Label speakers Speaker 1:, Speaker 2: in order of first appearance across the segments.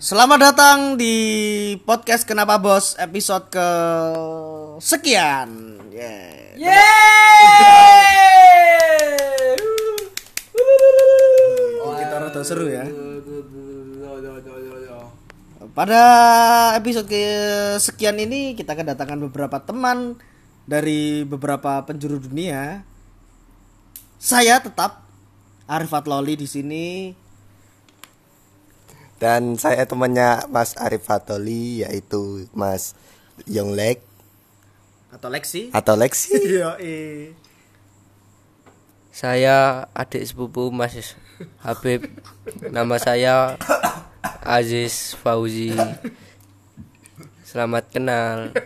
Speaker 1: Selamat datang di podcast Kenapa Bos episode ke sekian. Yeah.
Speaker 2: Yeay!
Speaker 1: Kita rada seru ya. Pada episode ke sekian ini kita kedatangan beberapa teman dari beberapa penjuru dunia. Saya tetap Arifat Loli di sini.
Speaker 3: Dan saya temannya Mas Arif Fatoli yaitu Mas Yonglek
Speaker 1: Atau Lexi.
Speaker 3: atau Lexi.
Speaker 1: Iya.
Speaker 4: Saya adik sepupu Mas Habib. Nama saya Aziz Fauzi. Selamat kenal.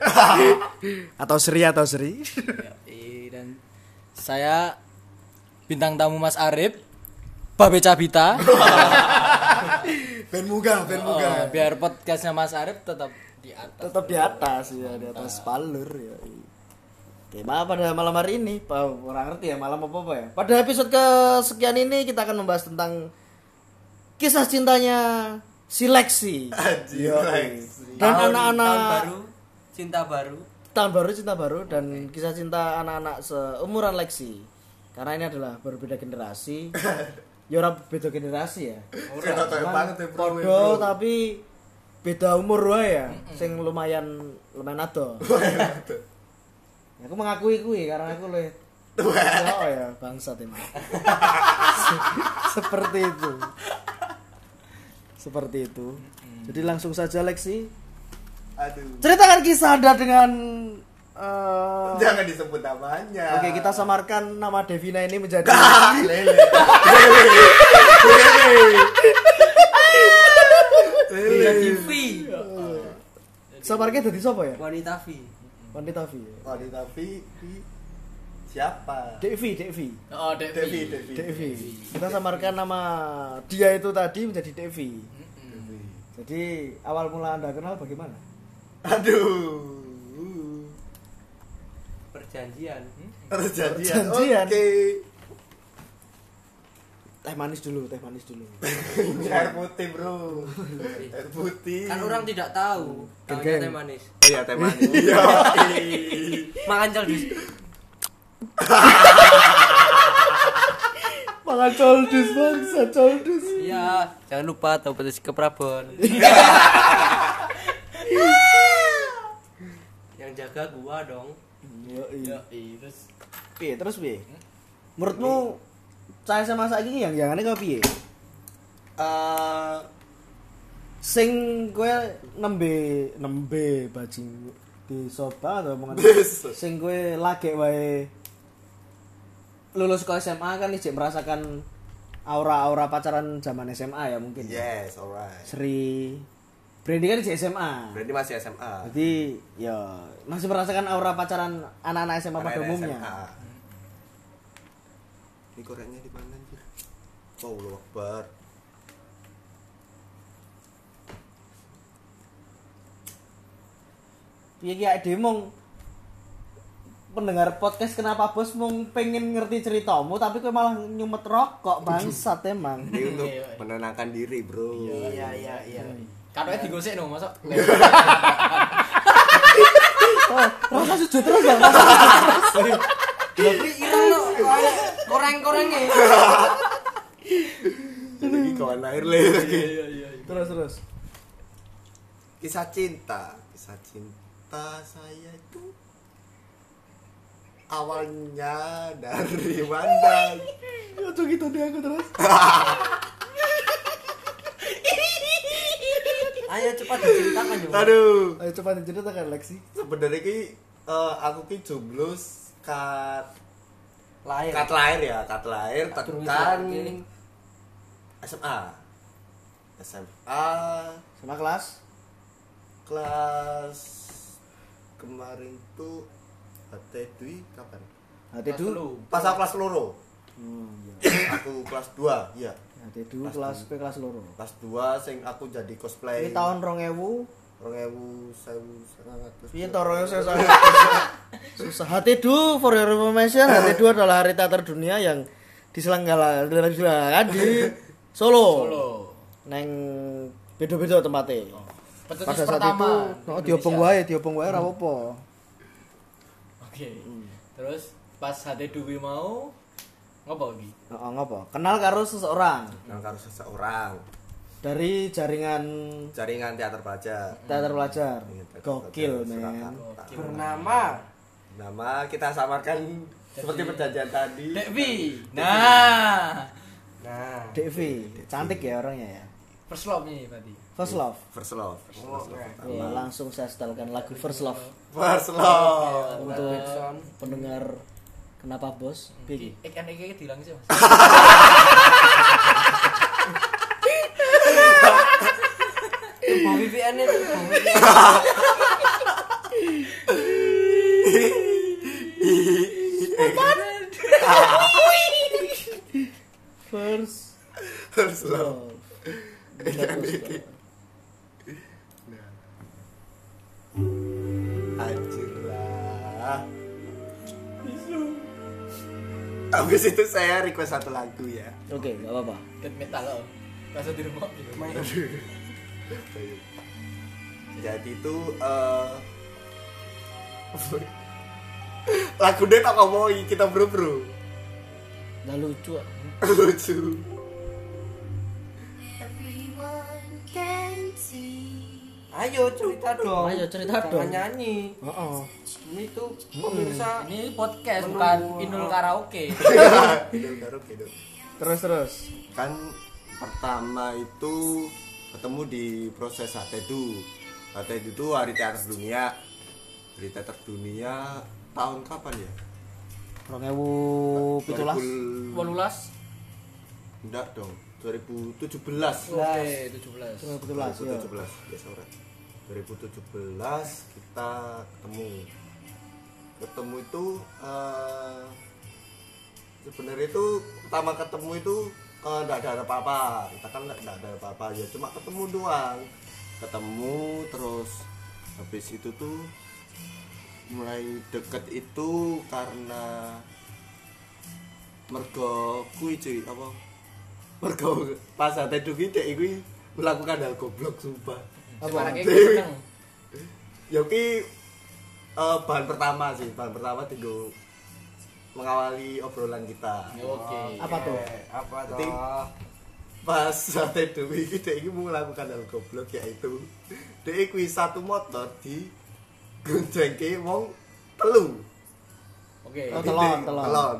Speaker 1: Atau Sri atau Sri.
Speaker 2: Yoi, Dan saya bintang tamu Mas Arif, Babe Cabita.
Speaker 1: Ben Muga, Ben
Speaker 2: Oh, biar podcastnya Mas Arif tetap di atas.
Speaker 1: tetap di atas ya di atas palur ya tema pada malam hari ini pak orang ngerti ya malam apa apa ya pada episode kesekian ini kita akan membahas tentang kisah cintanya si Lexi dan anak-anak
Speaker 4: cinta baru.
Speaker 1: tahun baru cinta baru dan kisah cinta anak-anak seumuran Lexi karena ini adalah berbeda generasi ya orang beda generasi ya Podo tapi beda umur wae ya sing lumayan lumayan ado Ya, aku mengakui kui karena aku le oh ya bangsat emang Se- seperti itu seperti itu jadi langsung saja Lexi
Speaker 3: Aduh,
Speaker 1: ceritakan kisah anda dengan eh,
Speaker 3: jangan disebut namanya. Ah,
Speaker 1: Oke, kita samarkan nama Devina ini menjadi
Speaker 3: Lele.
Speaker 1: samarkan jadi siapa ya?
Speaker 4: Wanita V.
Speaker 1: Wanita V. ya?
Speaker 3: Oh, tapi siapa?
Speaker 1: Devi, Devi,
Speaker 2: Oh, Devi.
Speaker 3: Devi, Devi.
Speaker 1: Devi. Kita samarkan nama dia itu tadi menjadi Devi. Jadi awal mula anda kenal bagaimana?
Speaker 3: Aduh.
Speaker 4: Perjanjian.
Speaker 2: Hmm?
Speaker 3: Perjanjian.
Speaker 1: Perjanjian.
Speaker 3: Ya, Oke.
Speaker 1: Teh manis dulu, teh manis dulu.
Speaker 3: Air putih, Bro. Air putih.
Speaker 4: Kan orang tidak tahu.
Speaker 1: Geng-geng.
Speaker 4: Tahunya teh manis.
Speaker 3: Oh iya, teman. Iya.
Speaker 4: Makan caldus.
Speaker 1: Makan coldus bangsa, coldus.
Speaker 4: Iya, jangan lupa tahu petis keprabon. Yang jaga gua dong.
Speaker 1: Yo iya.
Speaker 2: Yoi, terus
Speaker 1: Piye, terus piye? Menurutmu saya sama saiki yang yang aneh kau piye?
Speaker 3: Eh,
Speaker 1: Sing kowe nembe nembe bajing di soba atau omongan
Speaker 3: Desa.
Speaker 1: sing kowe lagi wae lulus ke SMA kan ijek merasakan aura-aura pacaran zaman SMA ya mungkin.
Speaker 3: yes, alright.
Speaker 1: Sri Brandy kan ijek SMA.
Speaker 3: Berarti masih SMA.
Speaker 1: Jadi ya masih merasakan aura pacaran anak-anak SMA pada
Speaker 3: Anak-anak
Speaker 1: umumnya.
Speaker 3: SMA. Ini koreknya di mana Oh, anjir? Allahu Akbar.
Speaker 1: Piye ki awake dhewe mung pendengar podcast kenapa bos mung pengen ngerti ceritamu tapi kowe malah nyumet rokok bangsat emang.
Speaker 3: Ini untuk menenangkan diri, Bro. Iya, iya, iya.
Speaker 2: katanya digosek no, masuk.
Speaker 1: Oh, rasa sujud terus ya. Rasa sujud terus.
Speaker 4: Koreng-korengnya.
Speaker 3: Lagi kawan air lagi.
Speaker 1: terus terus.
Speaker 3: Kisah cinta. Kisah cinta saya itu awalnya dari mana?
Speaker 1: Cocok gitu dia aku terus.
Speaker 4: Ayo cepat diceritakan yuk.
Speaker 3: Aduh.
Speaker 1: Ayo coba diceritakan Lexi.
Speaker 3: Sebenarnya ki eh, aku ki jomblo kat
Speaker 4: Lahir.
Speaker 3: kat lahir ya, kat lahir tekan
Speaker 4: Oke.
Speaker 3: SMA. SMA
Speaker 1: Sama kelas.
Speaker 3: kelas kemarin tuh Ate Dwi kapan?
Speaker 1: Hati dulu.
Speaker 3: Pas aku kelas loro.
Speaker 1: Hmm, iya.
Speaker 3: aku kelas 2, iya.
Speaker 1: Hati dulu kelas P kelas loro.
Speaker 3: Kelas 2 sing aku jadi cosplay.
Speaker 1: Ini tahun 2000
Speaker 3: 2000 1900.
Speaker 1: Piye torongnya saya sangat susah. Hati Du for your information, Hati Du adalah hari teater dunia yang diselenggarakan di Solo.
Speaker 2: Solo.
Speaker 1: Neng B beda-beda tempatnya.
Speaker 4: Pencetus
Speaker 1: Pada saat
Speaker 4: pertama
Speaker 1: itu,
Speaker 4: di
Speaker 1: oh,
Speaker 4: Indonesia.
Speaker 1: diobong wae, diobong wae ora apa-apa.
Speaker 4: Oke. Terus pas HD Dwi mau ngopo iki?
Speaker 1: Heeh, ngapa? Kenal karo seseorang
Speaker 3: Nang karo seseorang
Speaker 1: dari jaringan
Speaker 3: jaringan teater pelajar.
Speaker 1: teater pelajar.
Speaker 3: Iya, teater
Speaker 1: Hmm. Gokil,
Speaker 3: pelajar
Speaker 1: men.
Speaker 3: Surakarta.
Speaker 5: Bernama
Speaker 3: Nama kita samarkan seperti perjanjian tadi.
Speaker 4: Devi. Nah,
Speaker 5: Nah,
Speaker 1: Devi, cantik ya orangnya ya.
Speaker 4: first love nih tadi.
Speaker 1: First love.
Speaker 3: First love. First
Speaker 1: Oh.
Speaker 3: love.
Speaker 1: Wah, langsung saya setelkan lagu First Love
Speaker 3: First love.
Speaker 1: untuk pendengar Kenapa Bos? Big.
Speaker 4: Iki ikan iki dilang sih, Mas.
Speaker 5: Tubuh VPN itu tubuh VPN.
Speaker 1: First
Speaker 3: First
Speaker 1: Love.
Speaker 3: love.
Speaker 1: Kenapa Bos?
Speaker 3: Anjir lah. Habis itu saya request satu lagu ya.
Speaker 1: Oke, nggak apa-apa.
Speaker 4: Death metal loh. Rasa di rumah gitu.
Speaker 3: Jadi itu eh lagu dia tak ngomongin kita bro bro
Speaker 1: Nggak lucu. ah.
Speaker 3: lucu.
Speaker 6: Everyone can see.
Speaker 5: Ayo cerita dong.
Speaker 1: Ayo cerita
Speaker 5: Jangan
Speaker 1: dong.
Speaker 5: nyanyi.
Speaker 1: Heeh.
Speaker 5: Ini tuh pemirsa
Speaker 4: Ini podcast bukan Inul karaoke.
Speaker 3: Hidup, hidup, hidup.
Speaker 1: Terus terus.
Speaker 3: kan pertama itu ketemu di proses HTDU HTDU itu hari teater dunia hari teater dunia tahun kapan ya?
Speaker 1: 2017.
Speaker 3: 2000
Speaker 4: 18.
Speaker 3: enggak dong 2017
Speaker 4: Oke,
Speaker 1: 2017
Speaker 4: 17.
Speaker 1: ya.
Speaker 3: 2017 biasa orang 2017 kita ketemu ketemu itu eh, sebenarnya itu pertama ketemu itu eh, nggak ada apa-apa kita kan nggak nggak ada apa-apa ya cuma ketemu doang ketemu terus habis itu tuh mulai deket itu karena mergo kui cuy apa mergo pas ate dugi dek iki melakukan hal goblok sumpah
Speaker 4: Sekarang iki
Speaker 3: Dewi.
Speaker 4: seneng.
Speaker 3: ya ki eh, bahan pertama sih bahan pertama tinggal mengawali obrolan kita
Speaker 4: Ya, Oke.
Speaker 1: Apa tuh?
Speaker 5: apa tuh?
Speaker 3: Penting. pas ate dugi iki dek iki melakukan hal goblok yaitu dek iki satu motor di gonjengke wong telu
Speaker 4: Oke.
Speaker 1: Oh, telon,
Speaker 3: Dek,
Speaker 1: telon.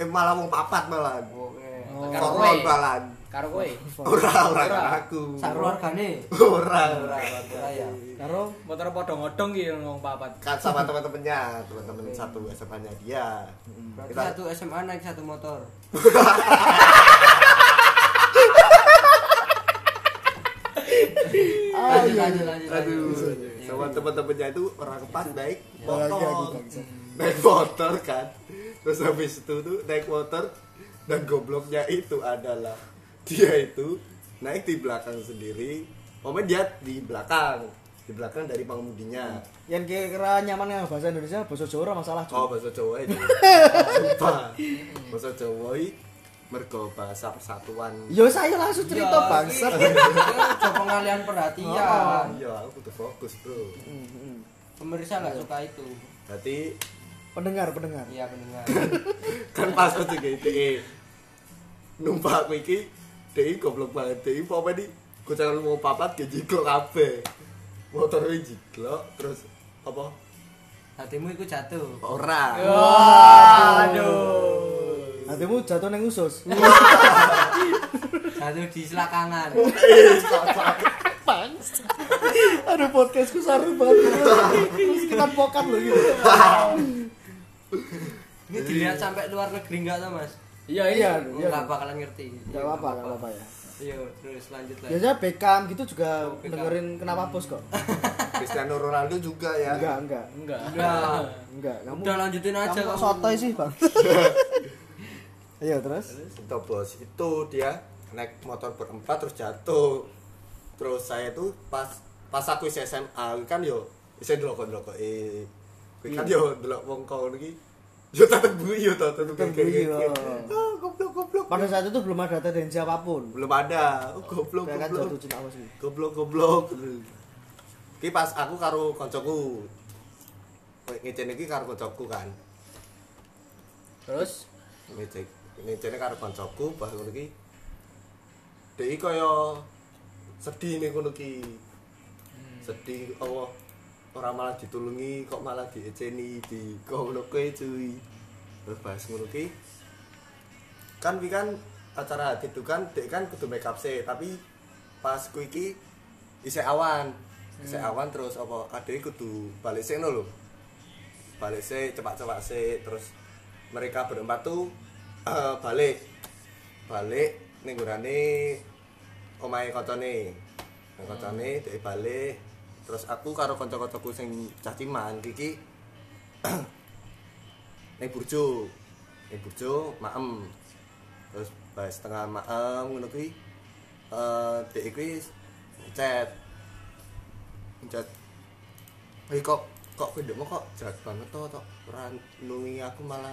Speaker 3: eh malah wong papat malah
Speaker 5: Oke.
Speaker 4: Karo kowe.
Speaker 3: Koron malah
Speaker 4: Karo kowe.
Speaker 3: ora ora kan aku
Speaker 5: Sak keluargane.
Speaker 3: ora ora
Speaker 5: Ora ya.
Speaker 1: Karo
Speaker 4: Motor padha ngodong ki ngomong papat.
Speaker 3: kan sama teman-temannya teman-teman satu SMA-nya dia
Speaker 5: Berarti
Speaker 3: kita
Speaker 5: satu SMA naik satu motor. lanjut, lanjut, lanjut,
Speaker 3: aduh
Speaker 5: lanjut.
Speaker 1: Iya,
Speaker 3: sama teman-temannya itu orang kepan naik motor naik motor kan terus habis itu tuh naik motor dan gobloknya itu adalah dia itu naik di belakang sendiri momen dia di belakang di belakang dari pengemudinya
Speaker 1: yang kira-kira nyaman dengan bahasa Indonesia, bahasa Jawa ora masalah.
Speaker 3: Oh,
Speaker 1: Cuk.
Speaker 3: bahasa Jawa itu. Sumpah. Bahasa Jawa iki mergo bahasa persatuan.
Speaker 1: Yo saya langsung cerita bangsat.
Speaker 4: iya.
Speaker 5: Coba pengalian
Speaker 4: Oh.
Speaker 5: perhatian.
Speaker 3: Ah, Iya, aku kudu fokus, Bro.
Speaker 5: Pemirsa nggak suka itu.
Speaker 3: Berarti
Speaker 1: Pendengar, pendengar.
Speaker 5: Iya pendengar.
Speaker 3: kan pas aku juga DE numpak aku iki DE goblok banget DE apa di gocangan mau papat ke jiklok kabeh. Motor iki jiklok terus apa?
Speaker 5: Hatimu itu jatuh.
Speaker 3: Ora.
Speaker 1: Hatimu jatuh neng usus.
Speaker 5: Jatuh di selakangan.
Speaker 1: Aduh podcastku saru banget. Terus kita pokat loh gitu.
Speaker 5: Ini dilihat sampai luar negeri enggak tuh Mas?
Speaker 4: Iya,
Speaker 1: Iya,
Speaker 4: iya.
Speaker 1: iya.
Speaker 5: Enggak bakalan ngerti.
Speaker 1: Gak apa-apa, gak apa-apa ya.
Speaker 5: Iya, terus lanjut lagi.
Speaker 1: Biasanya Oh, Beckham gitu juga dengerin kenapa bos kok.
Speaker 3: Cristiano Ronaldo juga ya.
Speaker 1: Enggak, enggak.
Speaker 4: Enggak.
Speaker 5: Udah,
Speaker 1: Enggak, kamu
Speaker 5: udah lanjutin aja
Speaker 1: kamu kok
Speaker 5: kamu.
Speaker 1: sotoy sih, Bang. Ayo terus.
Speaker 3: Itu bos itu dia naik motor berempat terus jatuh. Terus saya tuh pas pas aku isi SMA kan yo isih ndelok-ndelok eh kuwi kan
Speaker 1: Iya.
Speaker 3: yo ndelok wong kono iki yo tetep bui yo tetep
Speaker 1: Tetep oh. bui, yo.
Speaker 3: Ah goblok goblok.
Speaker 1: Pada saat itu belum ada tendensi apapun.
Speaker 3: belum ada oh, goblok
Speaker 1: Saya kan jatuh
Speaker 3: goblok
Speaker 1: cinta sama sih.
Speaker 3: goblok goblok ki pas aku karo koncoku ngecene iki karo koncoku kan
Speaker 4: Terus
Speaker 3: ngecek ngecene karo koncoku pas ngono iki dhek iki kaya sedih ning ngono iki sedih Allah ora malah ditulungi kok malah dieceni di goblok kowe cuy terus pas ngono iki kan wi kan acara hati itu kan dek kan kudu make up sih tapi pas ku iki isih awan isih awan terus apa adek kudu balik sih lho balik sih cepat-cepat sih terus mereka berempat tuh eh, balik balik ning gurane omahe koncone nang koncone dhek balik terus aku karo kanca-kancaku sing caciman iki ning burjo ning burjo maem terus bae setengah maem ngono kuwi eh dhek iki chat chat Hei kok kok pendemo kok jahat banget toh tok ora nulungi aku malah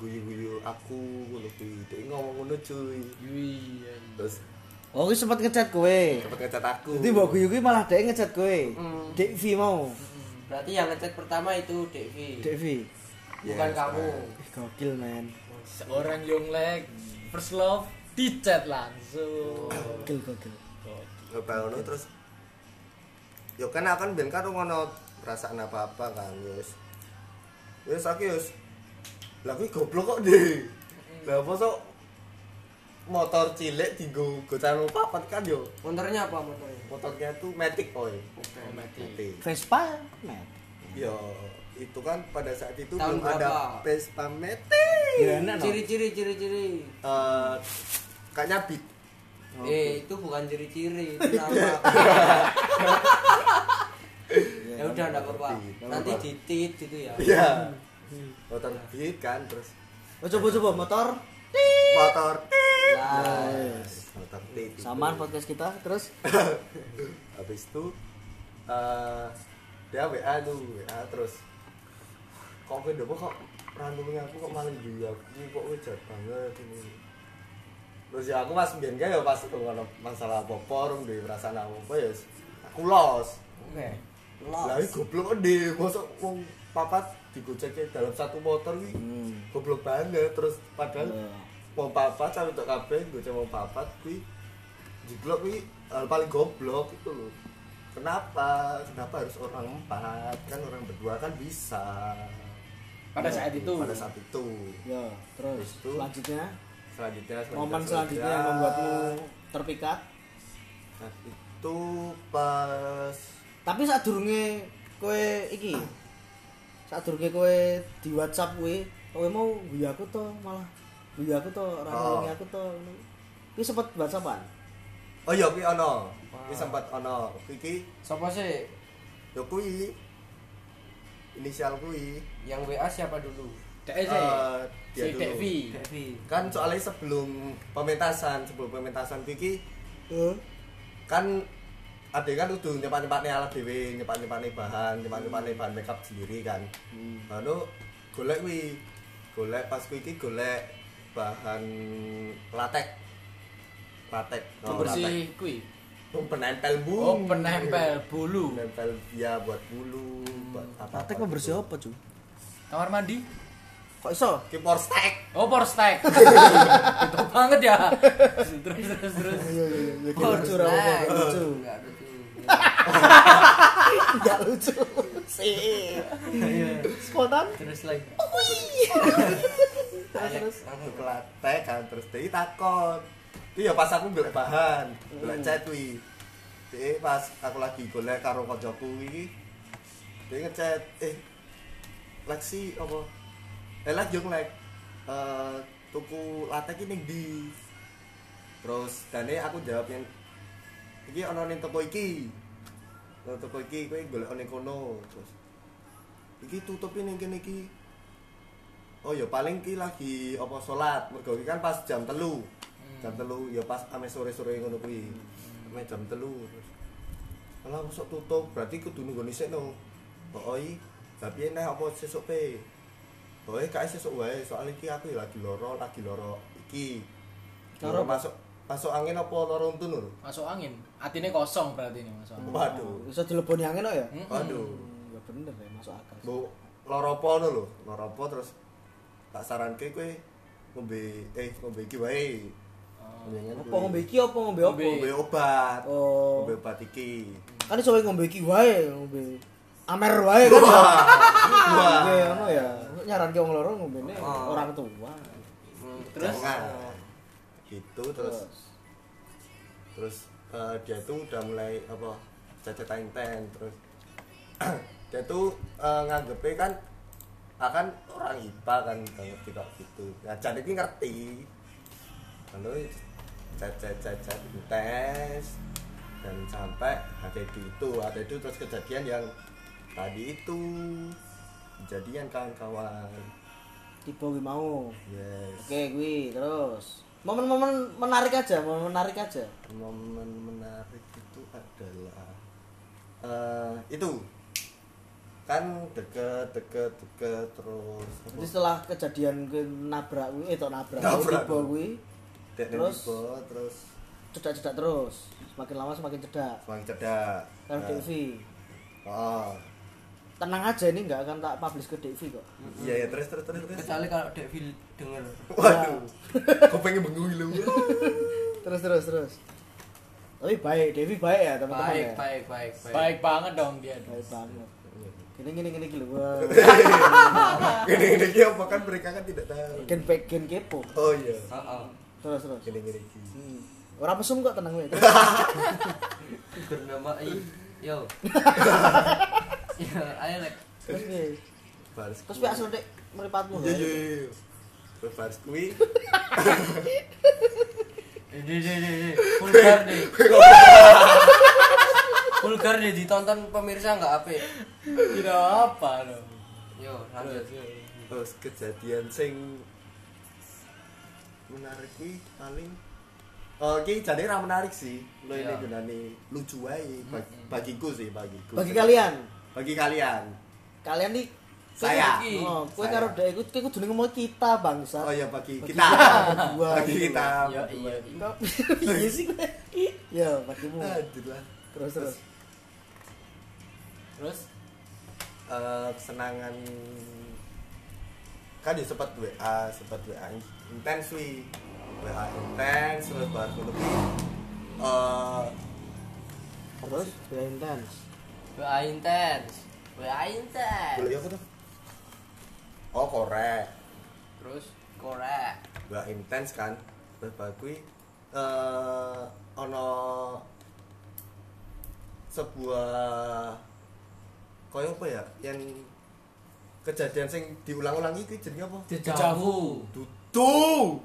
Speaker 3: guyu-guyu aku ngono kuwi dhek ngomong ngono cuy
Speaker 4: Yui, ya.
Speaker 3: terus
Speaker 1: Oh, kuwi sempat ngechat kowe.
Speaker 3: cepet ngecat aku
Speaker 1: Jadi mbok guyu kuwi malah dhek ngechat kowe. Dek V mau.
Speaker 5: Berarti yang ngecek pertama itu Devi,
Speaker 1: Dek V.
Speaker 5: bukan kamu.
Speaker 1: Ih, Gokil men.
Speaker 4: seorang Yonglek first love di chat langsung.
Speaker 1: Gokil gokil.
Speaker 3: ngebangun terus yo kan akan ben karo ngono perasaan apa-apa kan wis wis aku wis lah kuwi goblok kok deh lah mosok motor cilik digo gocan papat kan yo
Speaker 5: Motornya apa motornya?
Speaker 3: motornya tuh matic boy matic
Speaker 1: Vespa men.
Speaker 3: yo itu kan pada saat itu
Speaker 5: Tahun
Speaker 3: belum ada
Speaker 5: berapa?
Speaker 3: Vespa matic
Speaker 1: Ya enak no.
Speaker 5: Ciri-ciri, ciri-ciri.
Speaker 3: Eh, kayaknya beat
Speaker 5: Eh, itu bukan ciri-ciri, itu nama. ya udah enggak apa-apa.
Speaker 3: Nggak
Speaker 5: Nanti
Speaker 3: apa-apa.
Speaker 5: ditit gitu ya.
Speaker 3: iya
Speaker 5: Hmm.
Speaker 3: motor beat kan terus
Speaker 1: Oh, coba coba motor.
Speaker 3: motor
Speaker 5: Nah,
Speaker 3: motor beat itu.
Speaker 1: Samaan podcast kita terus
Speaker 3: habis itu eh dia WA tuh WA terus kok gue dobo kok randomnya aku kok malah guyu aku Ih, kok gue jahat banget ini terus ya aku mas biar ya pas itu ngono masalah apa porung deh perasaan apa apa ya aku los
Speaker 5: oke.
Speaker 3: lah ini goblok deh masa wong papat digojeknya dalam satu motor wi goblok banget terus padahal mau papat sama untuk kabeh gojek mau papat wi jiblok wi hal paling goblok itu loh kenapa kenapa harus orang empat kan orang berdua kan bisa
Speaker 4: Pada saat itu.
Speaker 3: pada saat itu
Speaker 1: ya terus
Speaker 3: Terus itu.
Speaker 1: selanjutnya
Speaker 3: selanjutnya selanjutnya,
Speaker 1: momen selanjutnya yang membuatmu terpikat
Speaker 3: Nah, itu pas
Speaker 1: tapi saat durunge kowe iki saat durunge kowe di WhatsApp kowe kowe mau guyu aku to malah guyu aku to ora
Speaker 3: Oh.
Speaker 1: ngelongi aku to kuwi sempat WhatsAppan
Speaker 3: oh iya kuwi ono kuwi sempat ono kuwi kuwi
Speaker 5: Siapa sih?
Speaker 3: ya kuwi inisial kuwi
Speaker 5: Yang WA siapa dulu?
Speaker 4: Dek eh,
Speaker 3: Eh,
Speaker 4: si
Speaker 3: dia
Speaker 4: si Dek
Speaker 3: dulu.
Speaker 4: Vi.
Speaker 5: Devi.
Speaker 3: kan soalnya sebelum pementasan sebelum pementasan Kiki
Speaker 1: heeh
Speaker 3: kan ada kan udah nyepat nyepatnya alat dewe nyepat nyepatnya bahan nyepat nyepatnya bahan makeup sendiri kan
Speaker 4: Hmm.
Speaker 3: lalu golek wi golek pas kuwi iki golek bahan latek latek
Speaker 4: Pembersih kui.
Speaker 3: penempel bu
Speaker 4: Oh, penempel bulu.
Speaker 3: penempel ya buat bulu buat apa
Speaker 1: latek pembersih apa cu
Speaker 4: Kamar mandi.
Speaker 1: kok iso
Speaker 3: kipor stack
Speaker 4: Oh, Porstek. Itu banget ya. Terus terus terus.
Speaker 1: Gak lucu ora apa
Speaker 5: Nah,
Speaker 1: lucu
Speaker 5: Enggak lucu.
Speaker 1: enggak lucu sih spontan
Speaker 4: Terus lagi.
Speaker 5: Terus
Speaker 3: aku latek kan terus dia takon iya pas aku golek bahan golek cat wi dia pas aku lagi golek karo kancaku iki dia ngechat eh Lexi apa eh lagi jong lek eh tuku latek ini di terus dan aku jawab yang iki ono ning toko iki Nang toko iki kowe golek ning kono terus iki tutupin ning kene iki Oh ya paling ki lagi apa salat. Mergo ki kan pas jam 3. Jam 3 ya pas ame sore-sore ngono kuwi. Ame jam 3 terus. Lah mosok tutup, berarti kudu nunggu nisik no. Heeh iki. Tapi nek apa sesuk pe. Heeh kae sesuk wae, soalnya ki aku ya lagi loro, lagi loro iki.
Speaker 1: Karo apa?
Speaker 3: masuk masuk angin apa loro untu lho.
Speaker 4: Masuk angin. Atine kosong berarti ini masuk angin.
Speaker 3: Waduh.
Speaker 1: Bisa dileboni angin kok ya?
Speaker 4: Mm-mm.
Speaker 3: Waduh.
Speaker 1: Enggak bener ya masuk akal. sih.
Speaker 3: Bu loro apa ngono lho? Loro apa terus tak saranke kowe ngombe eh ngombe iki wae.
Speaker 1: Oh. Apa ngombe iki apa ngombe apa?
Speaker 3: Ngombe obat.
Speaker 1: Oh.
Speaker 3: Ngombe obat iki.
Speaker 1: Kan iso wae ngombe iki wae, ngombe amer wae kan. Ngombe ono ya. Nyaranke wong loro ngombene
Speaker 3: Ah.
Speaker 1: orang tua.
Speaker 4: Terus?
Speaker 3: Jangan. Gitu terus terus eh, dia itu udah mulai apa cacat teng terus dia tuh eh, nganggepnya kan akan orang IPA kan nggak ngerti kok gitu nah jadi ini ngerti lalu cacat cacat tes dan sampai HDD itu HDD itu terus kejadian yang tadi itu kejadian kawan-kawan
Speaker 1: Tiba kuwi mau.
Speaker 3: yes
Speaker 1: Oke, kuwi terus. Momen-momen menarik aja, momen menarik aja.
Speaker 3: momen menarik itu adalah eh itu kan deket deket deket terus apa?
Speaker 1: Jadi setelah kejadian gue nabrak kuwi, eh tok nabrak, tiba
Speaker 3: Nabrak.
Speaker 1: kuwi
Speaker 3: Dek dan
Speaker 1: terus?
Speaker 3: Dipo, terus
Speaker 1: cedak-cedak terus. Semakin lama semakin cedak.
Speaker 3: semakin cedak
Speaker 1: Karena
Speaker 3: Nah,
Speaker 1: Devi.
Speaker 3: oh
Speaker 1: Tenang aja ini nggak akan tak publish ke Devi kok.
Speaker 3: iya ya terus terus terus terus
Speaker 5: kecuali kalau Devil denger
Speaker 3: waduh kok pengen bengong gitu. lu
Speaker 1: Ya. Terus terus terus. Tapi baik, Devi baik ya teman-teman. ya?
Speaker 5: baik baik baik baik
Speaker 4: Baik banget dong dia.
Speaker 1: Baik banget. Gini gini gini gini wah.
Speaker 3: gini gini gini apa kan mereka kan tidak tahu
Speaker 1: Gen pe- gen kepo.
Speaker 3: oh iya
Speaker 5: Heeh.
Speaker 1: Terus terus.
Speaker 3: gini gini gini
Speaker 1: Hmm. Orang mesum kok tenang wae.
Speaker 5: bernama I yo yo ayo lek
Speaker 1: Terus piye?
Speaker 3: baris
Speaker 1: Terus piye asal dek meripatmu?
Speaker 3: iya iya iya terus baris kui
Speaker 5: ini ini ini vulgar nih vulgar nih ditonton pemirsa nggak apa
Speaker 4: Tidak apa dong.
Speaker 5: yo lanjut
Speaker 3: terus kejadian sing menarik ki paling oh ki jadi ra menarik sih lo ini
Speaker 5: Iya.
Speaker 3: gunane lucu ae bag- bagiku sih bagiku
Speaker 1: Bagi kalian,
Speaker 3: bagi kalian
Speaker 1: kalian nih
Speaker 3: saya
Speaker 5: Iki.
Speaker 1: Oh, kue
Speaker 3: Saya.
Speaker 1: karo dek iku kue kudu ngomong kita bangsa.
Speaker 3: oh ya bagi
Speaker 1: Bagi
Speaker 3: kita
Speaker 1: berdua
Speaker 3: bagi
Speaker 1: gitu.
Speaker 3: kita
Speaker 5: yo iya
Speaker 1: Kok piye sih kowe? Ya, bagimu.
Speaker 3: Hadir lah.
Speaker 1: Terus terus.
Speaker 4: Terus
Speaker 3: Eh, kesenangan kan ya sempat WA sempat WA intens wi WA intens terus baru lebih eh
Speaker 1: Terus ya intens.
Speaker 5: wa intens wa intens
Speaker 3: kuliah apa tuh? oh korek
Speaker 5: terus korek
Speaker 3: gak intens kan terus baru kui eh, ono sebuah koyo apa ya yang kejadian sing diulang-ulang iki jenenge apa
Speaker 4: jauh.
Speaker 3: dudu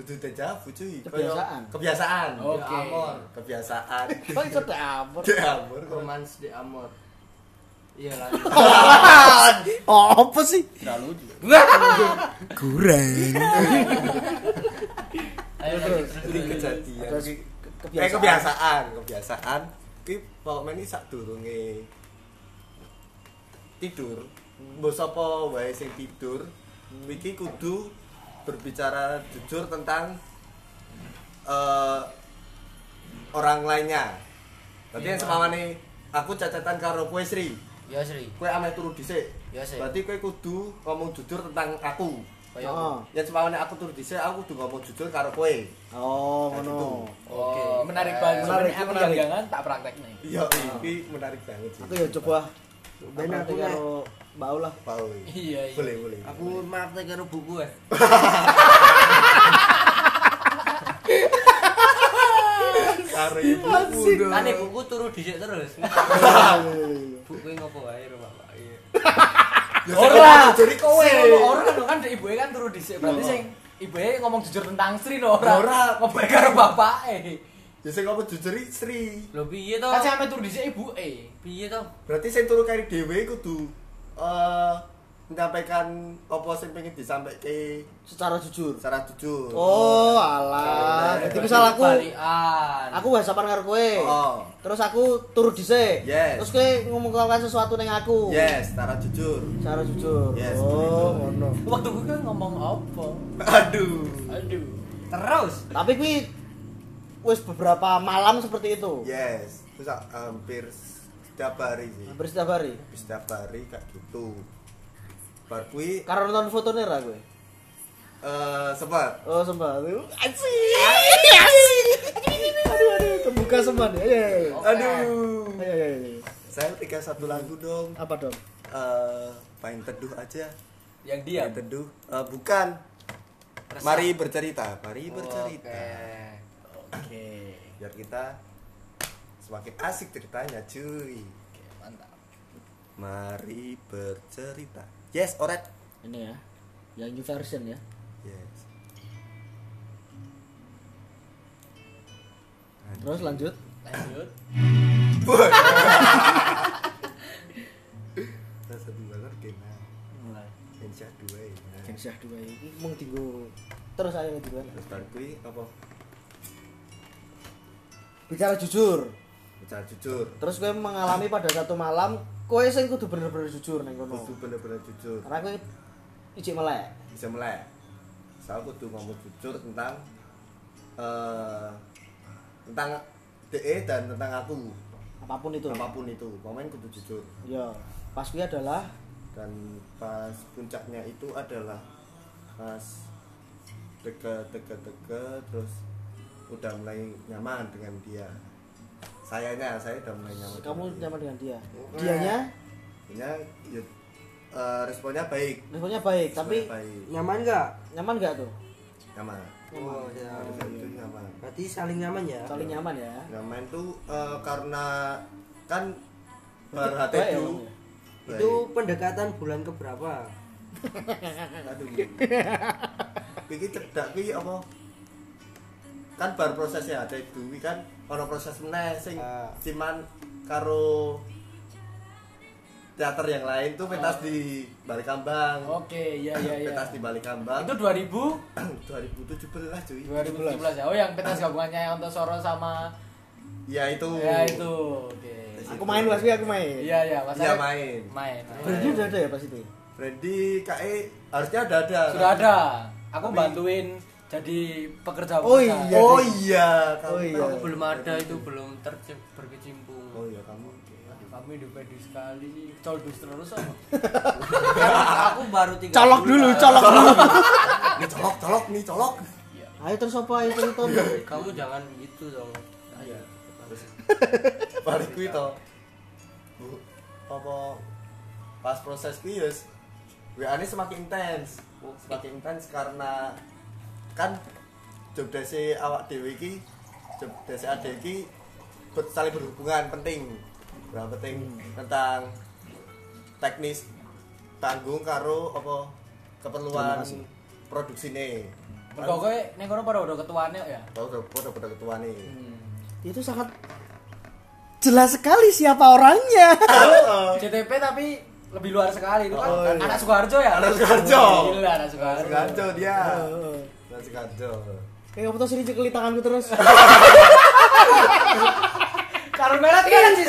Speaker 3: dudu dejavu cuy Koyo
Speaker 1: Kebiasaan.
Speaker 3: kebiasaan
Speaker 4: Oke.
Speaker 5: Ya amor.
Speaker 3: kebiasaan
Speaker 1: Kok iso dek amor?
Speaker 3: Jamur
Speaker 5: romance de amor iya lanjut
Speaker 7: Oh, apa sih? Kurang.
Speaker 5: ayo lanjut terus
Speaker 3: jadi kejadian
Speaker 1: Terus
Speaker 3: Ki.
Speaker 1: ke-
Speaker 3: Eh,
Speaker 1: kebiasaan.
Speaker 3: kebiasaan, kebiasaan. Ki pokoknya ini sak durunge tidur. Mbok sapa wae sing tidur, iki kudu berbicara jujur tentang eh, orang lainnya. Berarti yang semamane aku cacatan karo kowe Sri.
Speaker 5: yo sri
Speaker 3: Kowe ame turu dhisik.
Speaker 5: Ya, Sri.
Speaker 3: Berarti kowe kudu ngomong jujur tentang aku.
Speaker 5: koyo
Speaker 1: Oh.
Speaker 3: Yang semamane aku turu dhisik, aku kudu ngomong jujur karo kowe.
Speaker 1: Oh,
Speaker 3: Nah,
Speaker 1: ngono.
Speaker 3: gitu.
Speaker 5: Oke.
Speaker 4: Oh, menarik banget.
Speaker 1: Menarik,
Speaker 4: Sebenarnya aku
Speaker 1: menarik.
Speaker 4: jangan tak praktek nih.
Speaker 3: Iya, ini menarik banget sih.
Speaker 1: Aku ya coba
Speaker 3: Ben
Speaker 1: Apa
Speaker 3: aku
Speaker 1: nanti
Speaker 3: nek-
Speaker 1: karo Mbak Ulah.
Speaker 3: Pau.
Speaker 5: Iya, iya.
Speaker 3: Boleh, boleh.
Speaker 5: aku marte karo buku eh. ya
Speaker 3: karo
Speaker 5: Iya,
Speaker 3: ibu muda.
Speaker 5: Ane buku turu dhisik terus. buku ngopo wae ro Bapak. Iya.
Speaker 4: Ora.
Speaker 3: Jadi kowe.
Speaker 4: Sing ngomong Ora no kan dek ibuke kan turu dhisik. Berarti sing ibuke ngomong jujur tentang Sri no ora.
Speaker 3: Ora.
Speaker 4: ngomong karo bapake.
Speaker 3: Ya sing apa jujur iki, Sri.
Speaker 5: Lho piye to?
Speaker 4: Kan sampe turu dhisik ibuke.
Speaker 5: Piye to?
Speaker 3: Berarti sing turu kari dhewe kudu eh menyampaikan apa sing pengen disampaikan
Speaker 1: secara jujur.
Speaker 3: secara jujur.
Speaker 1: Oh, alah. Jadi misal aku
Speaker 5: Barian.
Speaker 1: aku whatsappan karo kowe.
Speaker 3: Oh.
Speaker 1: Terus aku turu dhisik.
Speaker 3: Yes.
Speaker 1: Terus kowe ngomongkan sesuatu ning aku.
Speaker 3: Yes, secara jujur.
Speaker 1: Secara jujur.
Speaker 3: Yes,
Speaker 1: oh, ngono.
Speaker 4: Waktu gue kan ngomong apa?
Speaker 3: Aduh.
Speaker 4: Aduh.
Speaker 5: Terus.
Speaker 1: Tapi kuwi wis beberapa malam seperti itu.
Speaker 3: Yes, itu sa- hampir setiap hari sih.
Speaker 1: Hampir setiap hari.
Speaker 3: Hampir setiap hari kayak gitu. Bar kui
Speaker 1: Karena nonton fotone ra kowe.
Speaker 3: eh sempat
Speaker 1: Oh, sempat. Asik. Asik. Aduh, aduh, kebuka sempat. Ya, ya, ya.
Speaker 3: Aduh.
Speaker 1: Ya, ya, ya.
Speaker 3: Saya tiga satu lagu dong.
Speaker 1: Apa dong?
Speaker 3: Eh main teduh aja.
Speaker 4: Yang dia.
Speaker 3: Main teduh. Eh, bukan. Mari bercerita, mari
Speaker 4: Oh,
Speaker 3: bercerita.
Speaker 4: Oke.
Speaker 3: Biar kita semakin asik ceritanya, cuy.
Speaker 4: Oke, mantap.
Speaker 3: Mari bercerita. Yes, alright.
Speaker 1: Ini ya. Yang new version ya.
Speaker 3: Yes.
Speaker 1: Terus lanjut. Ya.
Speaker 4: Lanjut.
Speaker 3: Kita satu banget kena. Insya dua ya.
Speaker 1: Gensyah 2 iki mung dienggo terus ayo dienggo.
Speaker 3: Terus bar kui apa?
Speaker 1: Bicara jujur.
Speaker 3: Bicara jujur.
Speaker 1: Terus kowe mengalami pada satu malam kowe sing kudu bener-bener jujur ning kono.
Speaker 3: Kudu bener-bener jujur.
Speaker 1: Karena kowe ijik melek.
Speaker 3: Bisa melek. Saya kudu ngomong jujur tentang eh tentang DE dan tentang aku.
Speaker 1: Apapun itu.
Speaker 3: Apapun itu, komen kudu jujur.
Speaker 1: Ya, pas kuwi adalah
Speaker 3: Dan pas puncaknya itu adalah pas deket-deket-deket terus udah mulai nyaman dengan dia. Sayanya, saya udah mulai nyaman.
Speaker 1: kamu
Speaker 3: dengan dia.
Speaker 1: nyaman dengan dia. Dianya
Speaker 3: Akhirnya, ya, eh, responnya baik.
Speaker 1: responnya baik, tapi
Speaker 3: Responnya baik.
Speaker 5: Nyaman nggak?
Speaker 1: nyaman nggak tuh?
Speaker 3: nyaman
Speaker 5: Oh, ya.
Speaker 3: harusnya itu nyaman
Speaker 5: Berarti saling nyaman ya.
Speaker 1: Saling nyaman ya.
Speaker 3: nyaman tuh eh, karena kan bar
Speaker 1: Baik ya,
Speaker 3: HTU
Speaker 1: Bang?
Speaker 5: Itu pendekatan bulan keberapa?
Speaker 3: aduh iki cedak iki apa kan bar prosesnya HTU iki kan ono proses meneh sing
Speaker 5: Ah.
Speaker 3: cuman karo teater yang lain tuh pentas di Balikambang
Speaker 4: Oke, ya ya ya.
Speaker 3: pentas di Balikambang
Speaker 4: Itu 2000
Speaker 3: 2017 cuy
Speaker 4: 2017 ya. Oh, yang pentas gabungannya untuk Soro sama
Speaker 3: ya itu
Speaker 4: ya itu. Oke.
Speaker 1: Aku main pas kuwi aku main.
Speaker 4: Iya ya, Mas.
Speaker 3: Iya,
Speaker 4: Arif
Speaker 3: main.
Speaker 4: Main.
Speaker 1: Berarti udah ada ya pas itu.
Speaker 3: Randy KE harusnya ada ada
Speaker 4: Sudah ada. Aku bantuin jadi pekerja
Speaker 1: Oh
Speaker 4: pekerja.
Speaker 1: iya.
Speaker 3: oh iya kamu
Speaker 1: Oh iya.
Speaker 3: tahu.
Speaker 5: Belum ada itu belum tercip berkecimpung.
Speaker 3: oh iya kamu
Speaker 4: Aduh, Kami dipedi sekali. Coldus terus apa?
Speaker 5: aku baru tiga.
Speaker 1: Colok
Speaker 5: bulan.
Speaker 1: dulu, colok dulu.
Speaker 3: ini colok colok nih colok
Speaker 1: Ayo terus apa ayo cerita.
Speaker 5: Kamu jangan gitu dong. Ayo.
Speaker 3: balik kuwi to bu apa pas proses kuwi yes WA ini semakin intens semakin intens karena kan job desi awak dewi ki job desi ade ki ber- saling berhubungan penting nah, penting tentang teknis tanggung karo apa keperluan produksi nih
Speaker 4: Mergo kowe ning kono pada udah ketuane kok ya.
Speaker 3: Tahu udah udah udah ketua nih.
Speaker 1: Itu sangat jelas sekali siapa orangnya.
Speaker 4: CTP tapi lebih luar sekali itu kan
Speaker 3: Oh, iya.
Speaker 4: anak Sukoharjo ya.
Speaker 3: Anak Sukoharjo.
Speaker 4: Gila anak Sukoharjo.
Speaker 3: Kacau dia.
Speaker 1: Heeh.
Speaker 3: Masih kacau.
Speaker 1: Kayak foto sini cekeli tanganku terus.
Speaker 4: Karun merah kan sih.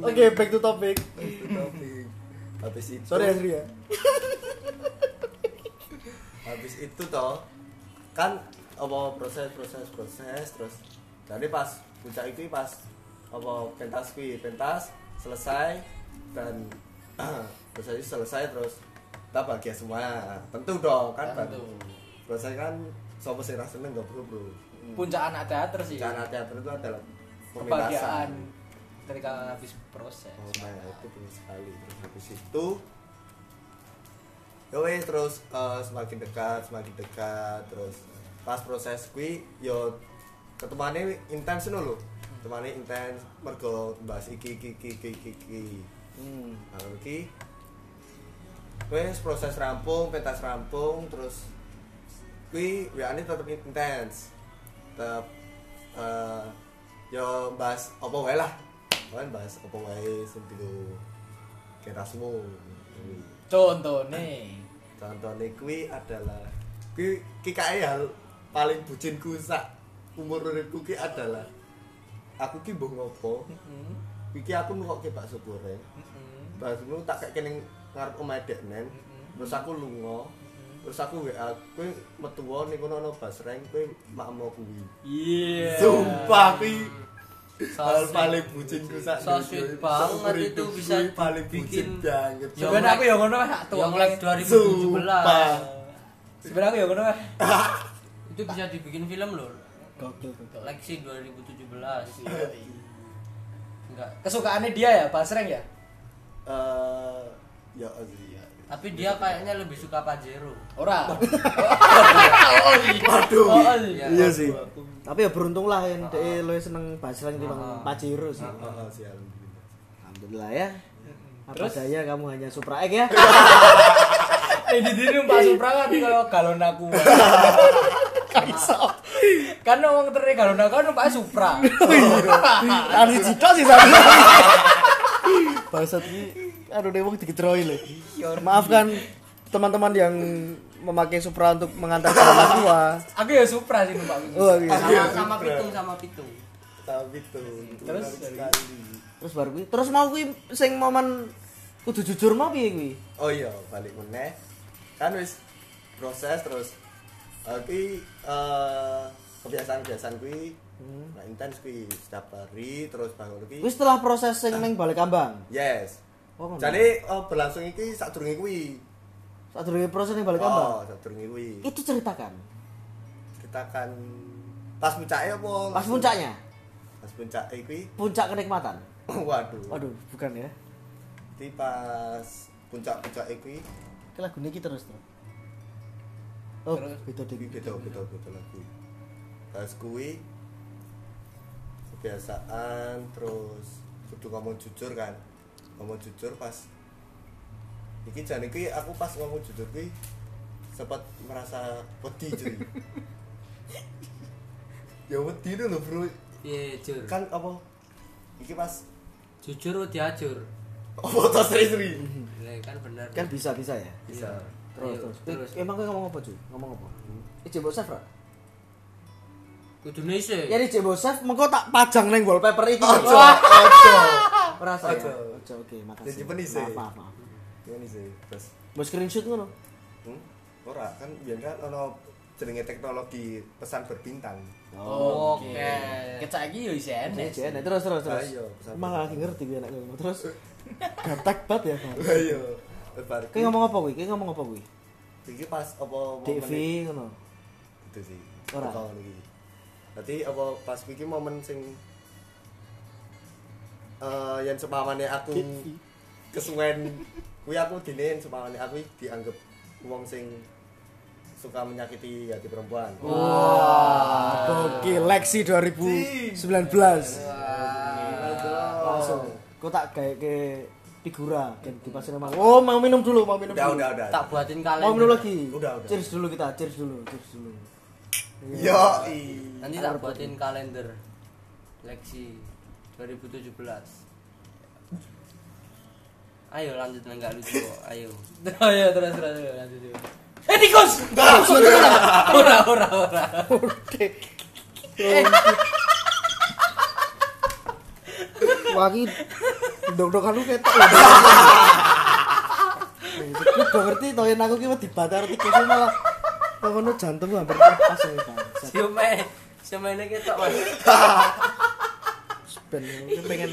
Speaker 1: Oke, back to topic.
Speaker 3: Tapi habis itu
Speaker 1: Sorry ya, Sri ya.
Speaker 3: habis itu toh kan apa proses proses proses terus jadi pas puncak itu pas apa pentas kui pentas selesai dan proses itu selesai terus kita bahagia semua tentu dong kan
Speaker 4: Tentu.
Speaker 3: proses kan sopo sih rasanya nggak perlu bro
Speaker 4: Puncak anak teater sih.
Speaker 3: cara teater itu adalah
Speaker 4: Kebahagiaan
Speaker 3: pementasan
Speaker 4: ketika habis proses.
Speaker 3: Oh my God, itu bener sekali terus habis itu yo wes, terus eh, semakin dekat semakin dekat terus pas proses kui yo ketemane intens ngono lho ketemane intens mergo bahas iki iki iki iki iki, iki. Nah, iki wes proses rampung pentas rampung terus kui WA ini tetep intens tetep eh, yo bahas apa wae lah kan bahas apa wae sing digo kerasmu
Speaker 4: Contohnya
Speaker 3: contohnya kui adalah kui ki kae hal paling bucinku sak umur uripku ki adalah aku ki mbuh ngopo iki aku nukokke bakso goreng bakso goreng tak kayak kening ngarep omahe deknen terus aku lunga terus aku WA kowe metu wae ning kono ana basreng kowe makmo kuwi
Speaker 4: Iya
Speaker 3: sumpah kuwi
Speaker 5: So
Speaker 3: hal
Speaker 5: sweet.
Speaker 3: paling bucinku sak
Speaker 5: So sweet
Speaker 3: dunia.
Speaker 5: banget
Speaker 3: Seumur
Speaker 5: itu
Speaker 3: hidup
Speaker 5: bisa
Speaker 3: kuwi paling bucin
Speaker 5: bikin-
Speaker 3: banget
Speaker 5: Ya,
Speaker 4: Sebenarnya aku yang ngono weh tua
Speaker 5: Yang like 2017
Speaker 3: Sumpah.
Speaker 4: Sebenarnya aku yang ngono ya. weh
Speaker 5: itu bisa dibikin film loh
Speaker 1: Gokil gokil.
Speaker 5: Lexi 2017 enggak
Speaker 4: Kesukaannya dia ya Basreng ya
Speaker 3: Eh, ya Azia
Speaker 5: tapi dia kayaknya lebih suka Pajero
Speaker 4: Ora
Speaker 3: waduh
Speaker 4: Oh, iya.
Speaker 3: iya sih
Speaker 1: Tapi ya beruntung lah yang dia lu seneng Basreng timbang Pajero sih.
Speaker 3: Oh, sih alhamdulillah.
Speaker 1: Alhamdulillah ya. Apa
Speaker 4: Terus?
Speaker 1: daya kamu hanya Supra X ya.
Speaker 4: Eh di diri Pak Supra kan kalau galon aku. Kaiso. Kan wong teri galon aku kan Pak Supra.
Speaker 1: Anu cita sih sama. Bangsat ini aduh deh wong diketroi lho. Maafkan teman-teman yang memakai Supra untuk mengantar saudara tua.
Speaker 4: Aku ya Supra sih numpak.
Speaker 1: Oh, iya.
Speaker 5: sama sama pitung sama pitung
Speaker 3: Tapi tuh
Speaker 4: Terus?
Speaker 1: Terus baru kuwi, terus mau kuwi sing momen kudu jujur mau piye kuwi?
Speaker 3: Oh iya, balik meneh. Kan wis proses terus eh, kuwi eh, kebiasaan-kebiasaan kuwi
Speaker 1: Hmm.
Speaker 3: nah, intens kuwi setiap hari terus bangun kuwi.
Speaker 1: Kuwi setelah proses sing ning balik kambang.
Speaker 3: Yes.
Speaker 1: Oh, ngono.
Speaker 3: Jadi eh, berlangsung iki sadurunge kuwi.
Speaker 1: Sadurunge proses ning balik
Speaker 3: Oh,
Speaker 1: kambang.
Speaker 3: sadurunge kuwi.
Speaker 1: Itu ceritakan.
Speaker 3: Kita akan pas puncaknya apa?
Speaker 1: Pas puncaknya,
Speaker 3: Pas puncaknya kuwi.
Speaker 1: puncak kenikmatan.
Speaker 3: Waduh.
Speaker 1: Waduh, bukan ya.
Speaker 3: Jadi pas puncak-puncaknya kuwi
Speaker 1: Ki lagune iki terus to. Oh, beda
Speaker 3: Iki
Speaker 1: dikit.
Speaker 3: beda beda beda lagi pas kui kebiasaan terus kudu ngomong jujur kan ngomong jujur pas iki jan iki aku pas ngomong jujur kui sempat merasa wedi cuy ya wedi dulu bro
Speaker 5: iya jur
Speaker 3: kan apa iki pas
Speaker 5: jujur oh diajur
Speaker 3: apa tas seri seri
Speaker 5: Lah, kan bener
Speaker 1: Kan bisa bisa ya.
Speaker 3: bisa
Speaker 1: Terus
Speaker 5: Iya,
Speaker 1: terus.
Speaker 5: terus.
Speaker 1: Eh, Emang kowe ngomong apa, Ju? Ngomong apa? Eh, Jebo Chef, Ra?
Speaker 5: kudu nise
Speaker 1: Ya di Jebo Chef mengko tak pajang ning wallpaper iki.
Speaker 3: ojo
Speaker 1: Wah,
Speaker 3: ojo
Speaker 1: Merasa ya.
Speaker 3: Ojo.
Speaker 1: Ojo, oke, makasih.
Speaker 3: Disimpen isi.
Speaker 1: Maaf, maaf, maaf.
Speaker 3: Iya, ini sih terus
Speaker 1: Mau screenshot ngono?
Speaker 3: hmm? ora kan biar kan ono jenenge teknologi pesan berbintang
Speaker 1: Oh.
Speaker 5: oke
Speaker 4: Kecak iki yo isi
Speaker 1: Ini
Speaker 4: enek.
Speaker 1: aja, nah, terus terus terus.
Speaker 3: Ayo, pesan
Speaker 1: Malah lagi ngerti gue anak gue. Terus gaptek banget ya, Bang.
Speaker 3: Ayo. Lebar.
Speaker 1: Kayak ngomong apa kuwi? Kayak ngomong apa kuwi?
Speaker 3: iki pas apa
Speaker 1: DV ngono.
Speaker 3: itu sih.
Speaker 1: Ora.
Speaker 3: Tahun iki. Berarti apa pas iki momen sing eh yang sepamane aku kesuwen kuwi aku dine yang sepamane aku dianggap wong sing suka menyakiti hati perempuan.
Speaker 1: Oh. Oke, Lexi 2019. Langsung. Kok tak kayak ke figura kan di pasar emang. Oh, mau minum dulu, mau minum
Speaker 3: Udah,
Speaker 1: dulu.
Speaker 3: udah, udah.
Speaker 5: tak buatin kalender
Speaker 1: Mau minum lagi.
Speaker 3: Udah, udah.
Speaker 1: Cheers dulu kita, cheers dulu, cheers dulu.
Speaker 3: Yo.
Speaker 5: nanti tak buatin kalender Lexi 2017 ayo lanjut lah nggak lucu kok. ayo
Speaker 4: Oh iya terus terus terus, lanjut. yuk. Eh tikus. Ora ora ora.
Speaker 1: Wangi dok-dokan lu ketok. Gue gak ngerti toyen aku ki wedi batar tikus ini malah kok ngono jantung hampir pas ya Bang.
Speaker 5: siomay siomay ini kita mas
Speaker 1: Ben ini ya, pengen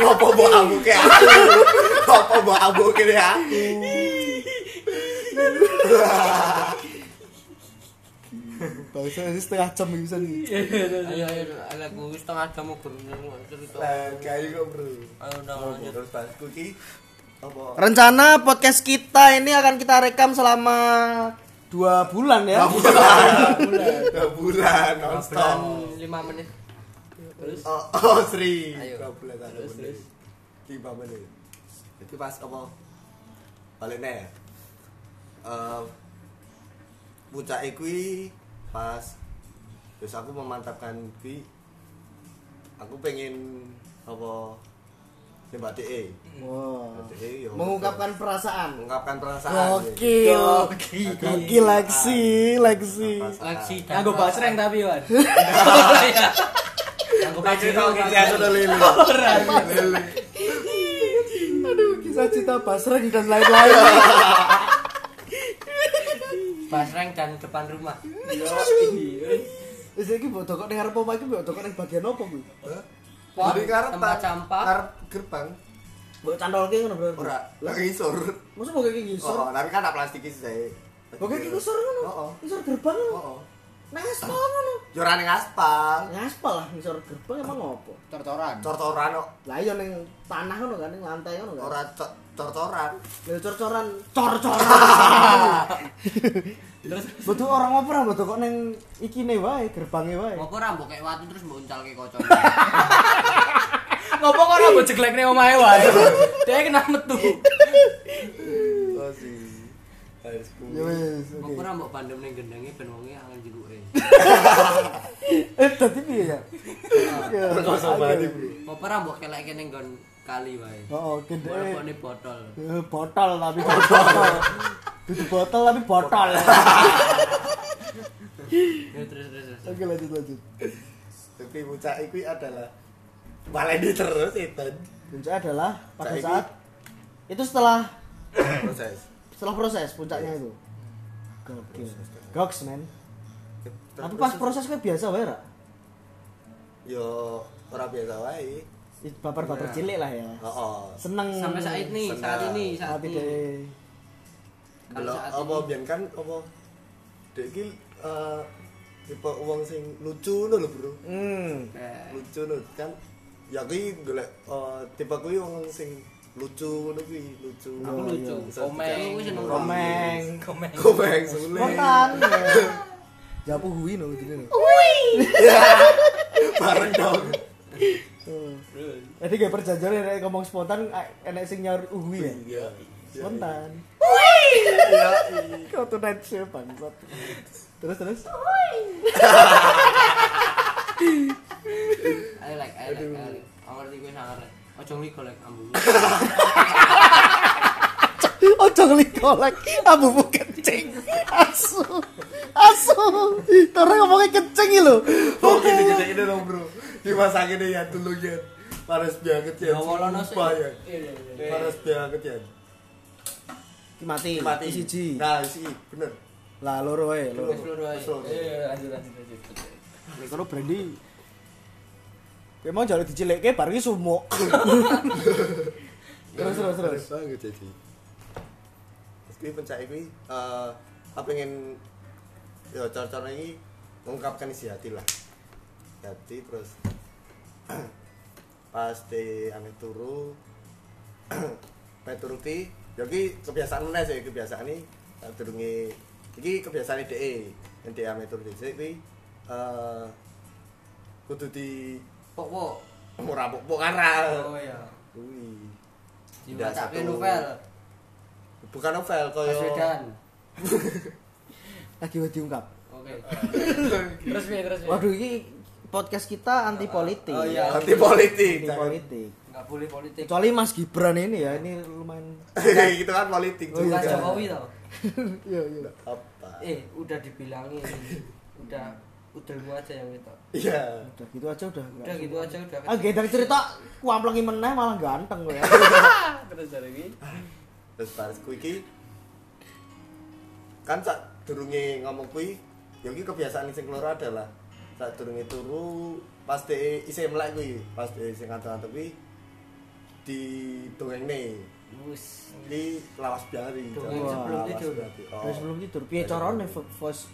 Speaker 3: Apa mau ambuke aku? Apa mau ambuke ya?
Speaker 1: bangsa ini setengah jam iki bisa nih.
Speaker 5: ayo ayo ayo aku setengah jam mau berunung cerita
Speaker 3: Lah, kayak kok, Bro.
Speaker 5: ayo udah lanjut
Speaker 3: Terus pas kuwi apa
Speaker 1: Rencana podcast kita ini akan kita rekam selama dua bulan ya.
Speaker 3: Dua bulan nonstop.
Speaker 5: lima menit
Speaker 3: Oh, oh Sri.
Speaker 5: Ayo.
Speaker 3: Dua bulan satu menit. Lima menit. Jadi pas apa? Balik nih. Eh, Puncak kui pas terus aku memantapkan kui aku pengen apa Ini Mbak DE.
Speaker 1: Wow.
Speaker 3: Mbak DE yo
Speaker 1: Mengungkapkan perasaan.
Speaker 3: mengungkapkan perasaan. ya.
Speaker 1: Gokil. Gokil Lexi, Lexi.
Speaker 3: Perasaan.
Speaker 5: Laksi dan
Speaker 4: Nganggo basreng tapi, Wan.
Speaker 5: Iya. Nganggo pacir
Speaker 3: Kita
Speaker 5: nganggo
Speaker 3: kita sudah lili. Lili.
Speaker 1: Aduh, kisah cinta pasreng dan lain-lain.
Speaker 5: basreng dan depan rumah.
Speaker 1: Wis iki mbok dokok ning arep omah iki mbok dokok ning bagian opo kuwi?
Speaker 5: Pom,
Speaker 3: Jadi karep
Speaker 5: tempat
Speaker 3: tak-
Speaker 5: sampah.
Speaker 3: karep gerbang
Speaker 1: Mbok cantolke ngono bro.
Speaker 3: ora lagi isor.
Speaker 1: Masa mbok iki ngisor.
Speaker 3: Oh, tapi kan tak plastik iki saya.
Speaker 1: Mbok iki ngisor ngono.
Speaker 3: Heeh.
Speaker 1: Ngisor gerbang ngono.
Speaker 3: Oh,
Speaker 1: Nang aspal ngono.
Speaker 3: yo ora ning aspal.
Speaker 1: Ngaspal lah ngisor gerbang emang opo?
Speaker 4: Tortoran.
Speaker 3: Cor-coran kok.
Speaker 1: Lah iya ning tanah ngono kan ning lantai ngono kan.
Speaker 3: ora co- cor-coran.
Speaker 1: Lha cor-coran, cor-coran.
Speaker 5: Terus
Speaker 1: Betul orang ngoper mbok dokok ning ikine wae, gerbange wae.
Speaker 5: ngopo ra mbok kek watu terus mbok uncalke kaca.
Speaker 4: Ngopo kok ora mbok jeglekne omahe, Wan? Dek kena metu.
Speaker 3: Oh, sih. Harus
Speaker 1: Ya wis, oke.
Speaker 5: Ngopo ra mbok bandem ning gendenge ben wonge angel jeruke.
Speaker 1: Eh, tadi piye ya? Ya.
Speaker 5: Ngopo ra mbok kelekke ning nggon kali wae.
Speaker 1: Oh, gendhe.
Speaker 5: Walaupun botol.
Speaker 1: Eh, botol tapi botol. Dudu botol tapi botol.
Speaker 5: Ya terus terus terus.
Speaker 1: Oke, lanjut lanjut.
Speaker 3: Tapi puncak iki adalah baleni terus Ethan.
Speaker 1: Puncak adalah pada
Speaker 3: Saiki.
Speaker 1: saat itu setelah
Speaker 3: Proses.
Speaker 1: setelah proses puncaknya itu. Gokil. Goks, men. Tapi pas proses kan biasa wae, Ra.
Speaker 3: yo ora biasa wae. Oh,
Speaker 1: Ih, Baper-baper cilik lah ya.
Speaker 3: Heeh.
Speaker 1: Seneng.
Speaker 5: Sampai saat ini, saat ini, saat
Speaker 1: Tapi
Speaker 5: ini.
Speaker 1: deh.
Speaker 5: Kalau
Speaker 3: Delok
Speaker 5: saat
Speaker 3: apa
Speaker 5: ini.
Speaker 3: biyen kan apa dek iki eh, tipe wong sing lucu ngono lho, Bro.
Speaker 1: Hmm.
Speaker 5: Eh,
Speaker 3: Lucu lho kan. Ya kuwi golek eh, tipe kuwi wong sing lucu ngono kuwi, lucu.
Speaker 5: Aku lucu.
Speaker 3: Bisa
Speaker 5: Komeng
Speaker 3: dicak-
Speaker 5: wis seneng
Speaker 1: Komeng.
Speaker 4: Komen.
Speaker 3: Komeng sulit.
Speaker 1: Spontan. Japu hui no gitu no. Ya.
Speaker 3: Bareng dong.
Speaker 1: Jadi kayak perjanjian enek ngomong spontan enek sing nyaur uhui ya.
Speaker 3: Iya.
Speaker 1: Spontan.
Speaker 3: Iya.
Speaker 1: Kau tuh night shift bangsat. Terus terus.
Speaker 5: I like, I like, I like. Aku ngerti gue sangar. Ojo ngliko lek ambu.
Speaker 1: Ojo ngelikolek, abubu kencing. Asu. Asu. Tore ngomongnya kencing lho.
Speaker 3: Oke, jadi ini dong, Bro. Dimasakin ya dulu ya. Panas banget ya.
Speaker 5: Ya, walono sih.
Speaker 3: Sumpah, ya.
Speaker 4: Iya,
Speaker 3: Panas banget ya.
Speaker 1: Mati.
Speaker 3: Mati.
Speaker 1: Siji.
Speaker 3: Nah, siji, bener.
Speaker 1: Lah loro wae, loro.
Speaker 5: Wis loro ae.
Speaker 3: Slow.
Speaker 4: Iya, Eh, lanjut lanjut lanjut.
Speaker 1: Kalau Brandy Memang jauh dicilekke bareng iki sumuk. terus terus terus.
Speaker 3: Panas banget jadi. Terus kuwi pencak kuwi eh apa pengen ya cor-cor ini mengungkapkan isi hati lah. Hati terus pas di ame turu pe turu ki ya ki kebiasaan meneh sih kebiasaan ini tak durunge iki kebiasaan dhek yang dhek ame turu dhisik kuwi eh kudu di
Speaker 5: Popo.
Speaker 3: ora pok kan ra.
Speaker 5: Oh ya.
Speaker 3: Kuwi. Tidak
Speaker 5: Dibacake
Speaker 3: satu.
Speaker 5: novel.
Speaker 3: Bukan novel koyo
Speaker 5: Baswedan.
Speaker 1: Lagi wis diungkap.
Speaker 5: Oke.
Speaker 4: Terus piye terus piye?
Speaker 1: Waduh ini podcast kita anti politik.
Speaker 5: Oh, iya.
Speaker 3: anti politik.
Speaker 1: Anti
Speaker 3: Jangan-
Speaker 1: politik.
Speaker 5: Enggak boleh politik.
Speaker 1: Kecuali Mas Gibran ini ya, ini lumayan
Speaker 3: Kayak gitu kan politik
Speaker 1: Oh, iya,
Speaker 5: Bukan
Speaker 1: jangan.
Speaker 5: Jokowi tau.
Speaker 1: Iya, iya.
Speaker 3: Apa?
Speaker 5: Eh, udah dibilangin. Udah udelmu aja yang itu.
Speaker 3: Iya.
Speaker 1: Udah gitu aja udah.
Speaker 5: Udah gitu aja udah.
Speaker 1: Ah, nggih, dari cerita kuamplengi meneh malah ganteng gue ya.
Speaker 4: Terus dari iki.
Speaker 3: Terus baris ku iki kan sak durunge ngomong kuwi, ya iki kebiasaan sing keloro adalah sak durunge turu pas de isih melek kuwi, pas de sing ngantuk-ngantuk kuwi di dongengne.
Speaker 5: Wis.
Speaker 3: Ini lawas banget ini.
Speaker 5: Dongeng
Speaker 3: Wah,
Speaker 5: sebelum
Speaker 3: lawas
Speaker 5: tidur.
Speaker 3: banget. Oh.
Speaker 1: Terus sebelum tidur piye carane vo- voice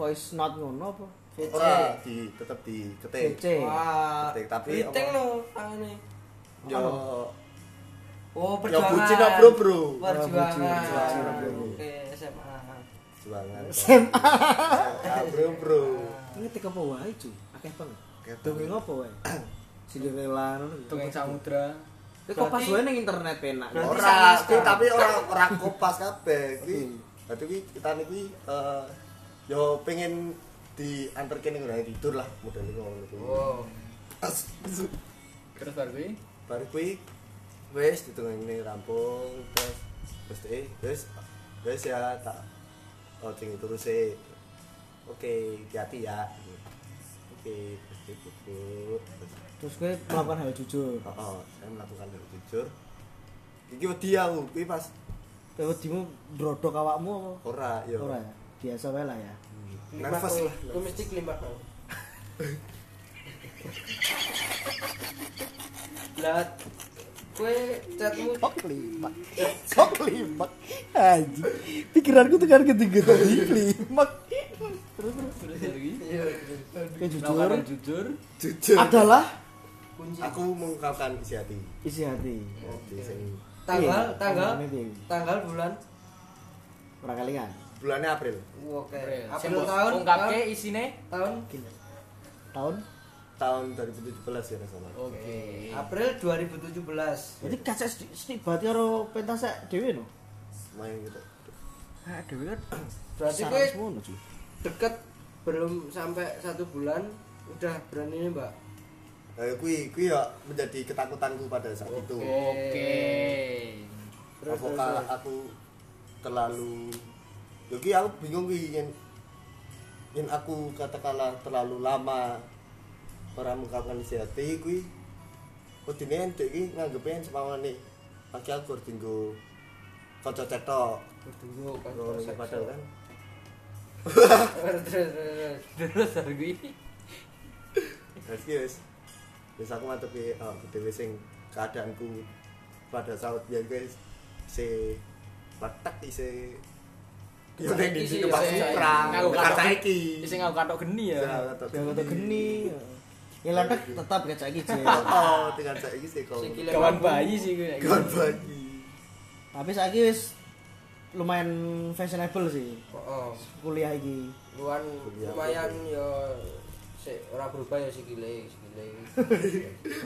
Speaker 1: voice note ngono apa?
Speaker 3: Ora di tetep di ketik.
Speaker 1: VC.
Speaker 5: Wah.
Speaker 3: Ketik, tapi
Speaker 5: Riting
Speaker 3: apa?
Speaker 5: lo tangane.
Speaker 3: Yo yo
Speaker 5: Oh, perjuangan.
Speaker 3: Ya, bucin lah, bro bro.
Speaker 5: Perjuangan.
Speaker 3: bucin, bucin.
Speaker 5: Oke, SMA.
Speaker 3: Perjuangan. SMA. Ya, bro bro.
Speaker 1: Ngetik apa wae, cuy? Akeh banget.
Speaker 3: Akeh
Speaker 1: Dongeng apa wae? Cinderella ngono.
Speaker 4: Tukang samudra.
Speaker 1: Tapi kok pas wae ning internet penak.
Speaker 5: Berarti
Speaker 3: Ora,
Speaker 5: salah
Speaker 3: kuwi
Speaker 5: sekarang.
Speaker 3: tapi ora ora kopas kabeh. Kuwi dadi kuwi kita niki eh yo pengen diantar kene ora tidur lah
Speaker 5: Oh.
Speaker 3: model ngono kuwi.
Speaker 4: Wow.
Speaker 3: As-
Speaker 4: Terus dari iki.
Speaker 3: Baru kuwi wes ditunggu ini rampung terus terus eh terus terus ya tak coaching itu terus eh oke hati-hati ya oke terus dia duduk. terus
Speaker 1: terus gue melakukan hal jujur
Speaker 3: oh, oh, saya melakukan hal jujur iki wedi aku kuwi pas
Speaker 1: Timu brodok awakmu apa?
Speaker 3: ora ya
Speaker 1: Ora ya? Biasa wae lah ya.
Speaker 3: nervous lah
Speaker 5: Gue mesti kelima kau. Lah, gue chatmu
Speaker 7: Kok limak? Kok limak? Anjing. Pikiranku tekan ketiga tadi limak.
Speaker 1: Kayak jujur
Speaker 4: jujur
Speaker 3: jujur
Speaker 1: adalah
Speaker 5: kunci.
Speaker 3: aku mengungkapkan isi hati
Speaker 1: isi hati.
Speaker 3: Jadi sing
Speaker 5: Tanggal,
Speaker 1: Iya,
Speaker 5: tanggal,
Speaker 1: tanggalnya piye?
Speaker 5: tanggal bulan.
Speaker 1: Ora kalingan.
Speaker 3: bulannya April
Speaker 5: Oke.
Speaker 4: Sing
Speaker 5: April
Speaker 4: mbok
Speaker 5: tahun,
Speaker 4: ungkapke isine
Speaker 5: tahun.
Speaker 1: Tahun
Speaker 3: tahun 2017 ya nggak salah
Speaker 4: oke
Speaker 5: April 2017.
Speaker 1: jadi kacek sedikit berarti karo pentas sek dhewe no.
Speaker 3: main gitu
Speaker 1: Ah, dhewe kan
Speaker 5: Berarti
Speaker 1: sarang
Speaker 5: gue
Speaker 1: semono, cuy.
Speaker 5: deket belum sampai satu bulan udah berani nih mbak.
Speaker 3: Eh, kui, kui ya menjadi ketakutanku pada saat
Speaker 4: Oh.
Speaker 3: itu.
Speaker 4: oke
Speaker 5: Terus,
Speaker 3: Apakah
Speaker 5: terus,
Speaker 3: aku terlalu Yo ki aku bingung ki yen yen aku katakanlah terlalu lama ora mengungkapkan isi hati kui kudine entek ki nganggepe semamane pagi aku harus tinggu kaca cetok
Speaker 5: Bertunggu kan.
Speaker 3: ora
Speaker 5: Terus,
Speaker 3: ngerti padahal kan
Speaker 5: terus, terus, terus.
Speaker 4: terus aku iki
Speaker 3: Terus ki wis wis aku ngadepi oh, dhewe sing keadaanku pada saat ya guys se petek isi Yo ning
Speaker 4: Ya,
Speaker 3: di
Speaker 4: Isi,
Speaker 3: situ pas
Speaker 4: isi,
Speaker 3: kurang
Speaker 4: ngaku
Speaker 3: kaca
Speaker 4: katok-
Speaker 3: iki.
Speaker 4: isi ngaku katok geni ya
Speaker 1: Dia kata geni. Ya lantak tetap kacek iki. cuy.
Speaker 3: Oh, dengan saiki sih kau.
Speaker 5: Sikile
Speaker 4: kawan
Speaker 5: mampu.
Speaker 4: bayi sih gue nek
Speaker 3: Kawan
Speaker 4: gitu.
Speaker 3: bagi.
Speaker 1: Tapi saiki wis lumayan fashionable sih
Speaker 5: Oh, oh.
Speaker 1: kuliah iki.
Speaker 5: luan
Speaker 3: Kuliah
Speaker 5: lumayan
Speaker 3: apa?
Speaker 5: yo sik ora berubah yo sikile sikile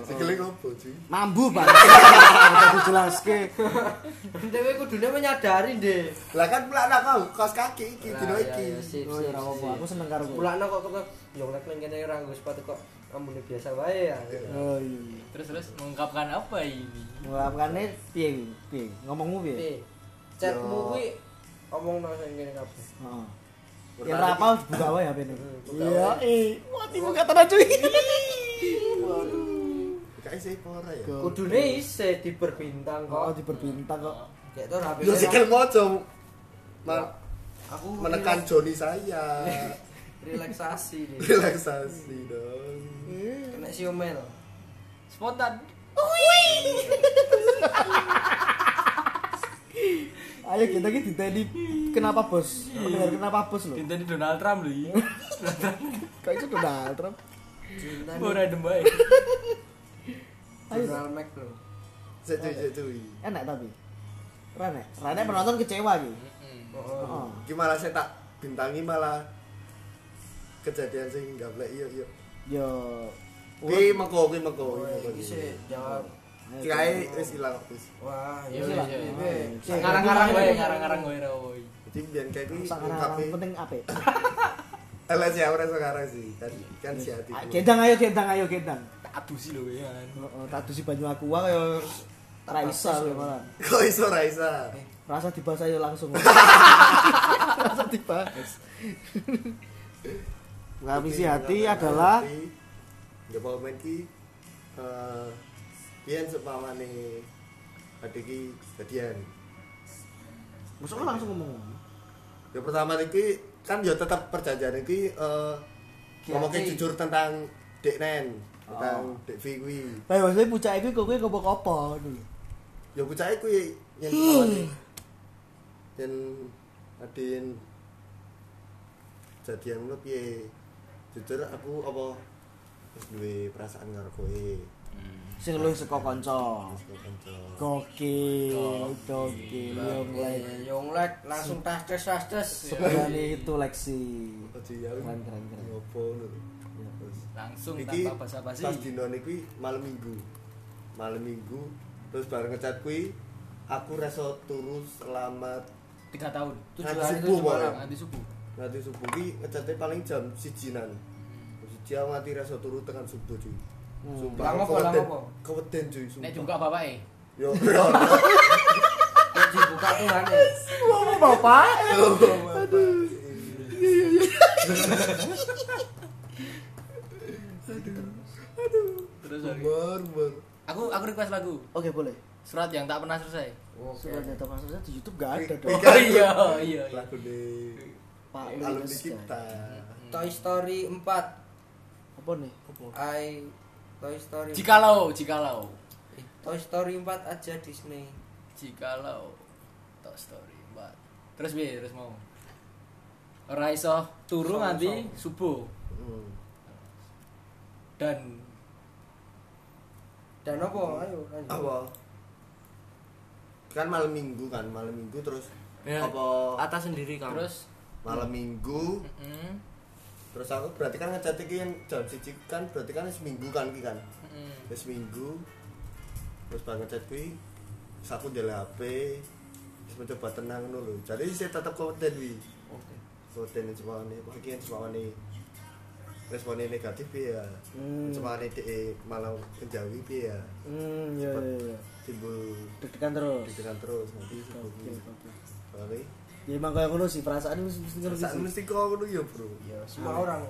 Speaker 4: Oh.
Speaker 3: Sikile opo, cuy?
Speaker 1: Mambu banget. Udah dijelaske.
Speaker 5: dhewe kudune menyadari deh
Speaker 3: Lah kan pelakna kau kaos kaki iki dino iki.
Speaker 1: Oh, ya ora apa-apa. Aku seneng karo kowe.
Speaker 5: mulane kok kok yo nek ning kene ora nggo sepatu kok ambune biasa wae ya
Speaker 1: Oh iya. iya.
Speaker 4: terus terus mengungkapkan apa ini
Speaker 1: Mengungkapkannya piye iki? piye? Ngomongmu piye?
Speaker 5: Nih,
Speaker 3: Yo.
Speaker 5: chatmu kuwi omong nang sing kene kabeh
Speaker 1: Heeh.
Speaker 3: Berarti-
Speaker 1: Yang rapal buka wae HP ini.
Speaker 7: Iya, eh. Wah, timu kata na, cuy.
Speaker 3: Kae sih ora ya.
Speaker 5: kudune isih diperbintang
Speaker 1: Oh,
Speaker 5: kok
Speaker 1: diperbintang kok.
Speaker 5: Kayak to rapi
Speaker 3: Yo sikil mojo ma-
Speaker 5: aku
Speaker 3: menekan Joni saya.
Speaker 5: relaksasi nih
Speaker 3: Relaksasi dong.
Speaker 5: kena siomel
Speaker 4: spontan
Speaker 1: Ayo kita ki diteni kenapa bos? Dengar kenapa bos lho.
Speaker 4: dinten Donald Trump lho iya. iki Donald Trump
Speaker 1: Kayak itu Donald Trump.
Speaker 5: cinta
Speaker 4: ora
Speaker 5: nih
Speaker 4: adem bae
Speaker 1: Ayo.
Speaker 5: Donald Mac lho
Speaker 3: Cek cuy, cek cuy.
Speaker 1: Enak tapi. Rane, Rane penonton kecewa iki.
Speaker 5: Oh,
Speaker 1: Heeh.
Speaker 3: Iki malah saya tak bintangi malah kejadian sing gablek iya iya.
Speaker 1: Yo.
Speaker 3: Kuwi mengko kuwi mengko.
Speaker 5: Oh, iki sih jawab.
Speaker 3: Kae wis ilang wis.
Speaker 5: Wah,
Speaker 4: Iya,
Speaker 5: ya
Speaker 4: iya,
Speaker 5: lah.
Speaker 4: iya.
Speaker 1: Iya.
Speaker 4: ngarang-ngarang wae ngarang-ngarang wae ra woi
Speaker 3: Jadi biar kayak kuwi
Speaker 1: Sekarang
Speaker 3: ungkapi.
Speaker 1: penting apa?
Speaker 3: Alah Eh, sih ora sekarang sih. Kan kan si hati.
Speaker 1: Ah, Gendang ayo gendang ayo gendang.
Speaker 4: tak abusi lho ya
Speaker 1: Heeh, tadu si banyu aku wae yo Oh, ra iso lho malah.
Speaker 3: Kok iso ra iso?
Speaker 1: Rasa dibahas ayo langsung. Rasa dibahas. Nggak isi hati adalah
Speaker 3: ya mau main ki eh pian sepamane ada ki kejadian.
Speaker 1: Masuk lu langsung ngomong.
Speaker 3: Ya pertama iki kan ya tetap perjanjian iki eh ngomongke jujur tentang Dek Nen,
Speaker 1: Oh.
Speaker 3: tentang Dek V kuwi.
Speaker 1: Lah maksudnya pucak iki kok kowe ngopo-opo ngono.
Speaker 3: Ya bocah kuwi yen sepamane yen adin jadian ngono piye? Jujur aku apa wis duwe perasaan karo kowe.
Speaker 1: Sing luwih saka kanca.
Speaker 3: Kanca.
Speaker 1: Gokil, gokil, yang lain.
Speaker 5: Yonglek langsung tas tes tas tes.
Speaker 1: Sebenarnya itu Lexi.
Speaker 3: Ojo ya.
Speaker 1: Keren, keren, keren.
Speaker 3: Ngopo lho. Terus,
Speaker 4: langsung
Speaker 3: iki
Speaker 4: tanpa basa-basi
Speaker 3: Pas dino niki malam Minggu. Malam Minggu terus bareng ngecat kuwi aku reso turu selama
Speaker 4: tiga tahun
Speaker 5: Tujuh
Speaker 3: Nanti
Speaker 5: hari
Speaker 3: subuh,
Speaker 5: tujuh malam.
Speaker 3: Boy.
Speaker 4: nanti subuh
Speaker 3: nanti subuh ki ngecatnya paling jam sijinan. Siji aku nganti reso turu tekan subuh cuy. Sumpah
Speaker 5: Lah
Speaker 3: aku
Speaker 5: ngopo, lah
Speaker 3: keweden-
Speaker 5: ngopo?
Speaker 3: Keweden cuy
Speaker 4: nek eh.
Speaker 3: sumpah.
Speaker 4: juga bapake
Speaker 3: Yo, yo, yo.
Speaker 5: Kok dibuka tuh aneh.
Speaker 7: Ngomong bapak.
Speaker 3: Aduh.
Speaker 4: Terus sorry.
Speaker 3: Barbar.
Speaker 4: Aku aku request lagu
Speaker 1: Oke boleh.
Speaker 4: surat yang tak pernah selesai.
Speaker 1: Surat data masuknya di YouTube gak ada dong.
Speaker 3: Mika
Speaker 4: Oh iya iya. iya.
Speaker 3: lagu di
Speaker 1: Pak
Speaker 3: alumni
Speaker 1: Lukas.
Speaker 3: kita.
Speaker 5: Toy Story 4.
Speaker 1: Apa nih?
Speaker 5: I Toy Story.
Speaker 4: Jikalau jikalau
Speaker 5: Toy Story 4 aja Disney.
Speaker 4: jikalau Toy Story mbak. Terus bi terus mau. Ora iso turu nanti subuh
Speaker 3: Hmm.
Speaker 4: dan
Speaker 5: Dan apa? Ayo lanjut.
Speaker 3: Apa? Kan malam minggu kan, malam minggu terus
Speaker 4: Ya.
Speaker 3: apa
Speaker 5: Atas sendiri kamu.
Speaker 4: terus
Speaker 3: malam minggu
Speaker 4: mm,
Speaker 3: terus aku berarti kan ngecat iki yang jam siji kan berarti kan seminggu kan iki kan
Speaker 4: mm,
Speaker 3: terus minggu terus banget chat kuwi terus aku jalan HP terus mencoba tenang dulu jadi saya tetap konten wi konten yang cuma ini wah ini cuma ini responnya negatif ya
Speaker 1: Hmm.
Speaker 3: cuma ini de malah menjauhi ya
Speaker 1: Hmm, ya ya ya.
Speaker 3: timbul
Speaker 1: Deg-degan terus.
Speaker 3: pikiran terus nanti
Speaker 1: Oke,
Speaker 3: sebelumnya
Speaker 1: oke.
Speaker 3: tapi
Speaker 1: Ya emang kayak ngono sih perasaan ini mesti ngono
Speaker 3: saat
Speaker 1: sih.
Speaker 3: mesti kau dulu ya bro
Speaker 5: semua orang.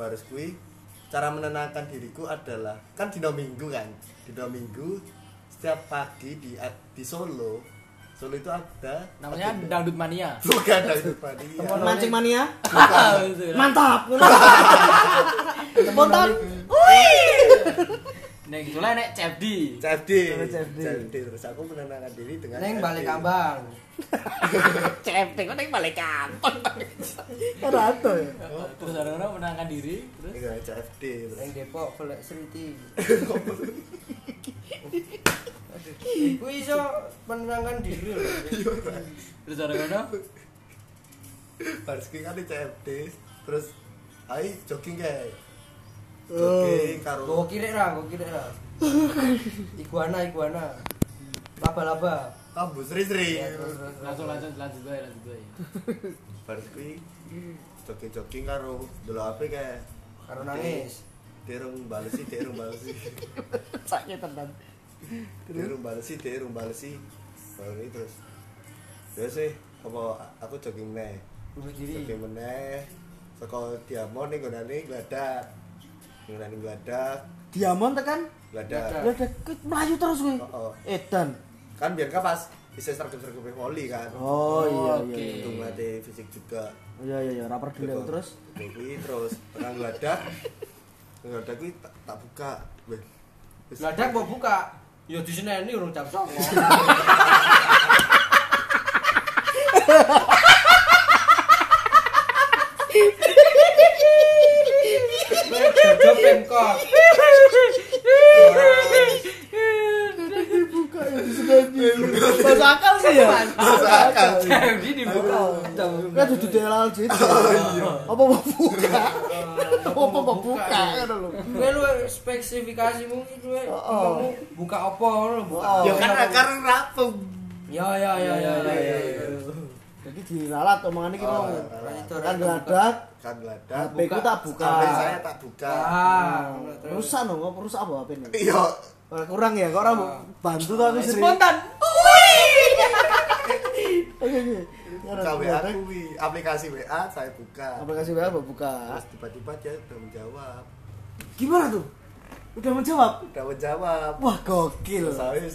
Speaker 3: baris kui cara menenangkan diriku adalah kan dino minggu kan dino minggu setiap pagi di di Solo Solo itu ada
Speaker 4: namanya
Speaker 3: ada-
Speaker 4: dangdut mania.
Speaker 3: bukan Iya. dangdut mania
Speaker 1: Mancing mania.
Speaker 4: Betul.
Speaker 1: Mantap. Spontan.
Speaker 4: Neng itulah nek Cebdi.
Speaker 3: CFD
Speaker 1: Sama CFD.
Speaker 3: CFD terus aku menenangkan diri dengan
Speaker 5: Neng
Speaker 3: CFD.
Speaker 5: balik ambang.
Speaker 7: CFT kok yang balik kantor. Ada ato ya.
Speaker 4: Terus orang-orang menangkan diri terus
Speaker 3: dengan CFD terus.
Speaker 5: Neng Depok Velek Sriti. Ku iso menenangkan diri lho.
Speaker 4: terus orang-orang
Speaker 3: baris kui kan di CFD terus ayo jogging kayak
Speaker 5: Oh.
Speaker 3: jogging
Speaker 5: Go
Speaker 3: karo
Speaker 5: kiri ra, go kiri ra. Iguana, iguana. Laba-laba.
Speaker 3: kamu seri-seri
Speaker 5: Ya, terus, terus, terus.
Speaker 4: langsung lanjut lanjut gue lanjut gue.
Speaker 3: baris kui
Speaker 1: Hmm.
Speaker 3: jogging-jogging karo dulu HP kayak
Speaker 5: Karo nangis.
Speaker 3: derung balesi derung balesi
Speaker 7: Sakit tenan.
Speaker 3: Derung balesi, derung balesi. Baru ini terus. Ya sih, apa aku jogging meneh.
Speaker 5: Bunuh diri.
Speaker 3: Jogging meneh. Saka Diamond ning gonane gladak. Ning gonane gladak,
Speaker 1: Diamond tekan.
Speaker 3: gladak.
Speaker 1: Lah deket melayu terus gue.
Speaker 3: Heeh.
Speaker 1: Edan.
Speaker 3: Kan biar kapas bisa sergap-sergap voli kan.
Speaker 1: Oh iya
Speaker 4: Oke.
Speaker 1: iya. iya.
Speaker 3: Itu melatih fisik juga.
Speaker 1: Iya iya iya rapper dulu terus.
Speaker 3: Jogging Gitu. terus tekan gladak. Gladak kuwi tak tak buka. Weh. Wis.
Speaker 5: Gladak mau buka. Ya di sini ini urung jam 09.00. Jojo pemkot.
Speaker 1: Masuk akal sih ya.
Speaker 3: Masuk akal.
Speaker 4: Cebdi dibuka.
Speaker 1: Kan duduk di LLJ. Apa mau buka? Apa mau buka kan lho.
Speaker 5: Gue lu spesifikasimu itu gue
Speaker 1: Oh.
Speaker 5: ngomong buka apa lu buka.
Speaker 1: Oh.
Speaker 3: Ya kan akar rapem.
Speaker 5: Ya ya ya ya ya. ya, ya.
Speaker 1: Jadi diralat omongannya kita mau.
Speaker 3: Oh, ralat.
Speaker 1: Kan geladak,
Speaker 3: Kan gladak.
Speaker 1: HP ku tak buka.
Speaker 3: HP saya tak buka.
Speaker 5: Ah, terus
Speaker 1: Rusak dong, kok rusak apa HP ini?
Speaker 3: Iya,
Speaker 1: Orang kurang ya, kok
Speaker 3: Ah.
Speaker 1: orang mau bantu tuh aku sering.
Speaker 4: Spontan.
Speaker 1: Oke, oke. Ngarep
Speaker 3: buka WA
Speaker 1: geladak,
Speaker 3: aku wi. aplikasi WA saya buka
Speaker 1: Aplikasi WA mau buka.
Speaker 3: terus tiba-tiba dia udah menjawab
Speaker 1: Gimana tuh? Udah menjawab.
Speaker 3: udah menjawab
Speaker 1: Wah, gokil.
Speaker 3: terus saya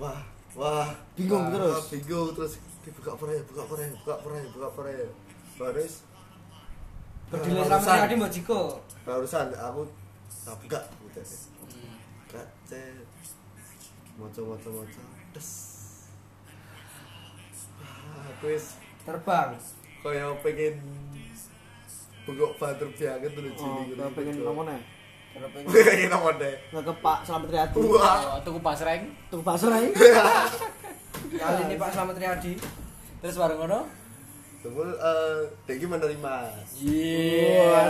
Speaker 3: wah wah
Speaker 1: Bingung
Speaker 3: wah,
Speaker 1: terus.
Speaker 3: bingung terus dibuka perai buka perai buka perai buka perai terus
Speaker 5: berdilai
Speaker 3: Barusan.
Speaker 5: sama si Adi mau Jiko.
Speaker 3: barusan aku tak buka udah buka cek moco moco moco des Wah, aku wis
Speaker 5: terbang.
Speaker 3: kaya pengen bengok batur banget dulu
Speaker 1: Oh,
Speaker 3: jini
Speaker 1: gua pengen ngomong nih.
Speaker 5: Terbang.
Speaker 3: pengen ngomong deh
Speaker 1: Nggak ke Pak Selamat Riyadi.
Speaker 3: Wah.
Speaker 4: Oh, Tuku pasreng.
Speaker 1: Tuh pasrah
Speaker 5: Kali ini Pak Slamet Riyadi.
Speaker 4: Terus bareng ngono.
Speaker 3: Tunggu, eh Degi menerima.
Speaker 1: Wah,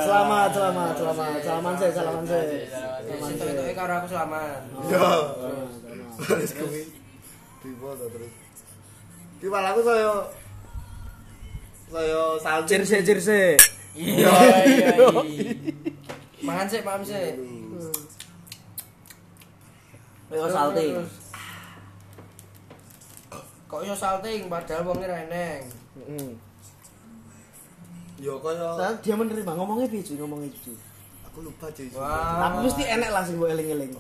Speaker 1: selamat, selamat, selamat. Salaman saya, salaman saya.
Speaker 5: Ya situ itu karo aku selamat.
Speaker 3: Yo. Terus kuwi di foto terus. Ki malah aku saya saya sancir
Speaker 1: Cirse, cirse.
Speaker 4: Iya iya. iya.
Speaker 5: Makan sih, paham sih.
Speaker 1: Ayo salting.
Speaker 5: Terus, terus. Kok iso salting padahal wong ini reneng.
Speaker 1: Heeh.
Speaker 3: yo kaya
Speaker 1: dia menerima ngomongnya piye cuy ngomongnya gitu. cuy.
Speaker 3: aku lupa cuy
Speaker 5: Wah.
Speaker 1: Tapi mesti enek lah sing mbok eling-eling.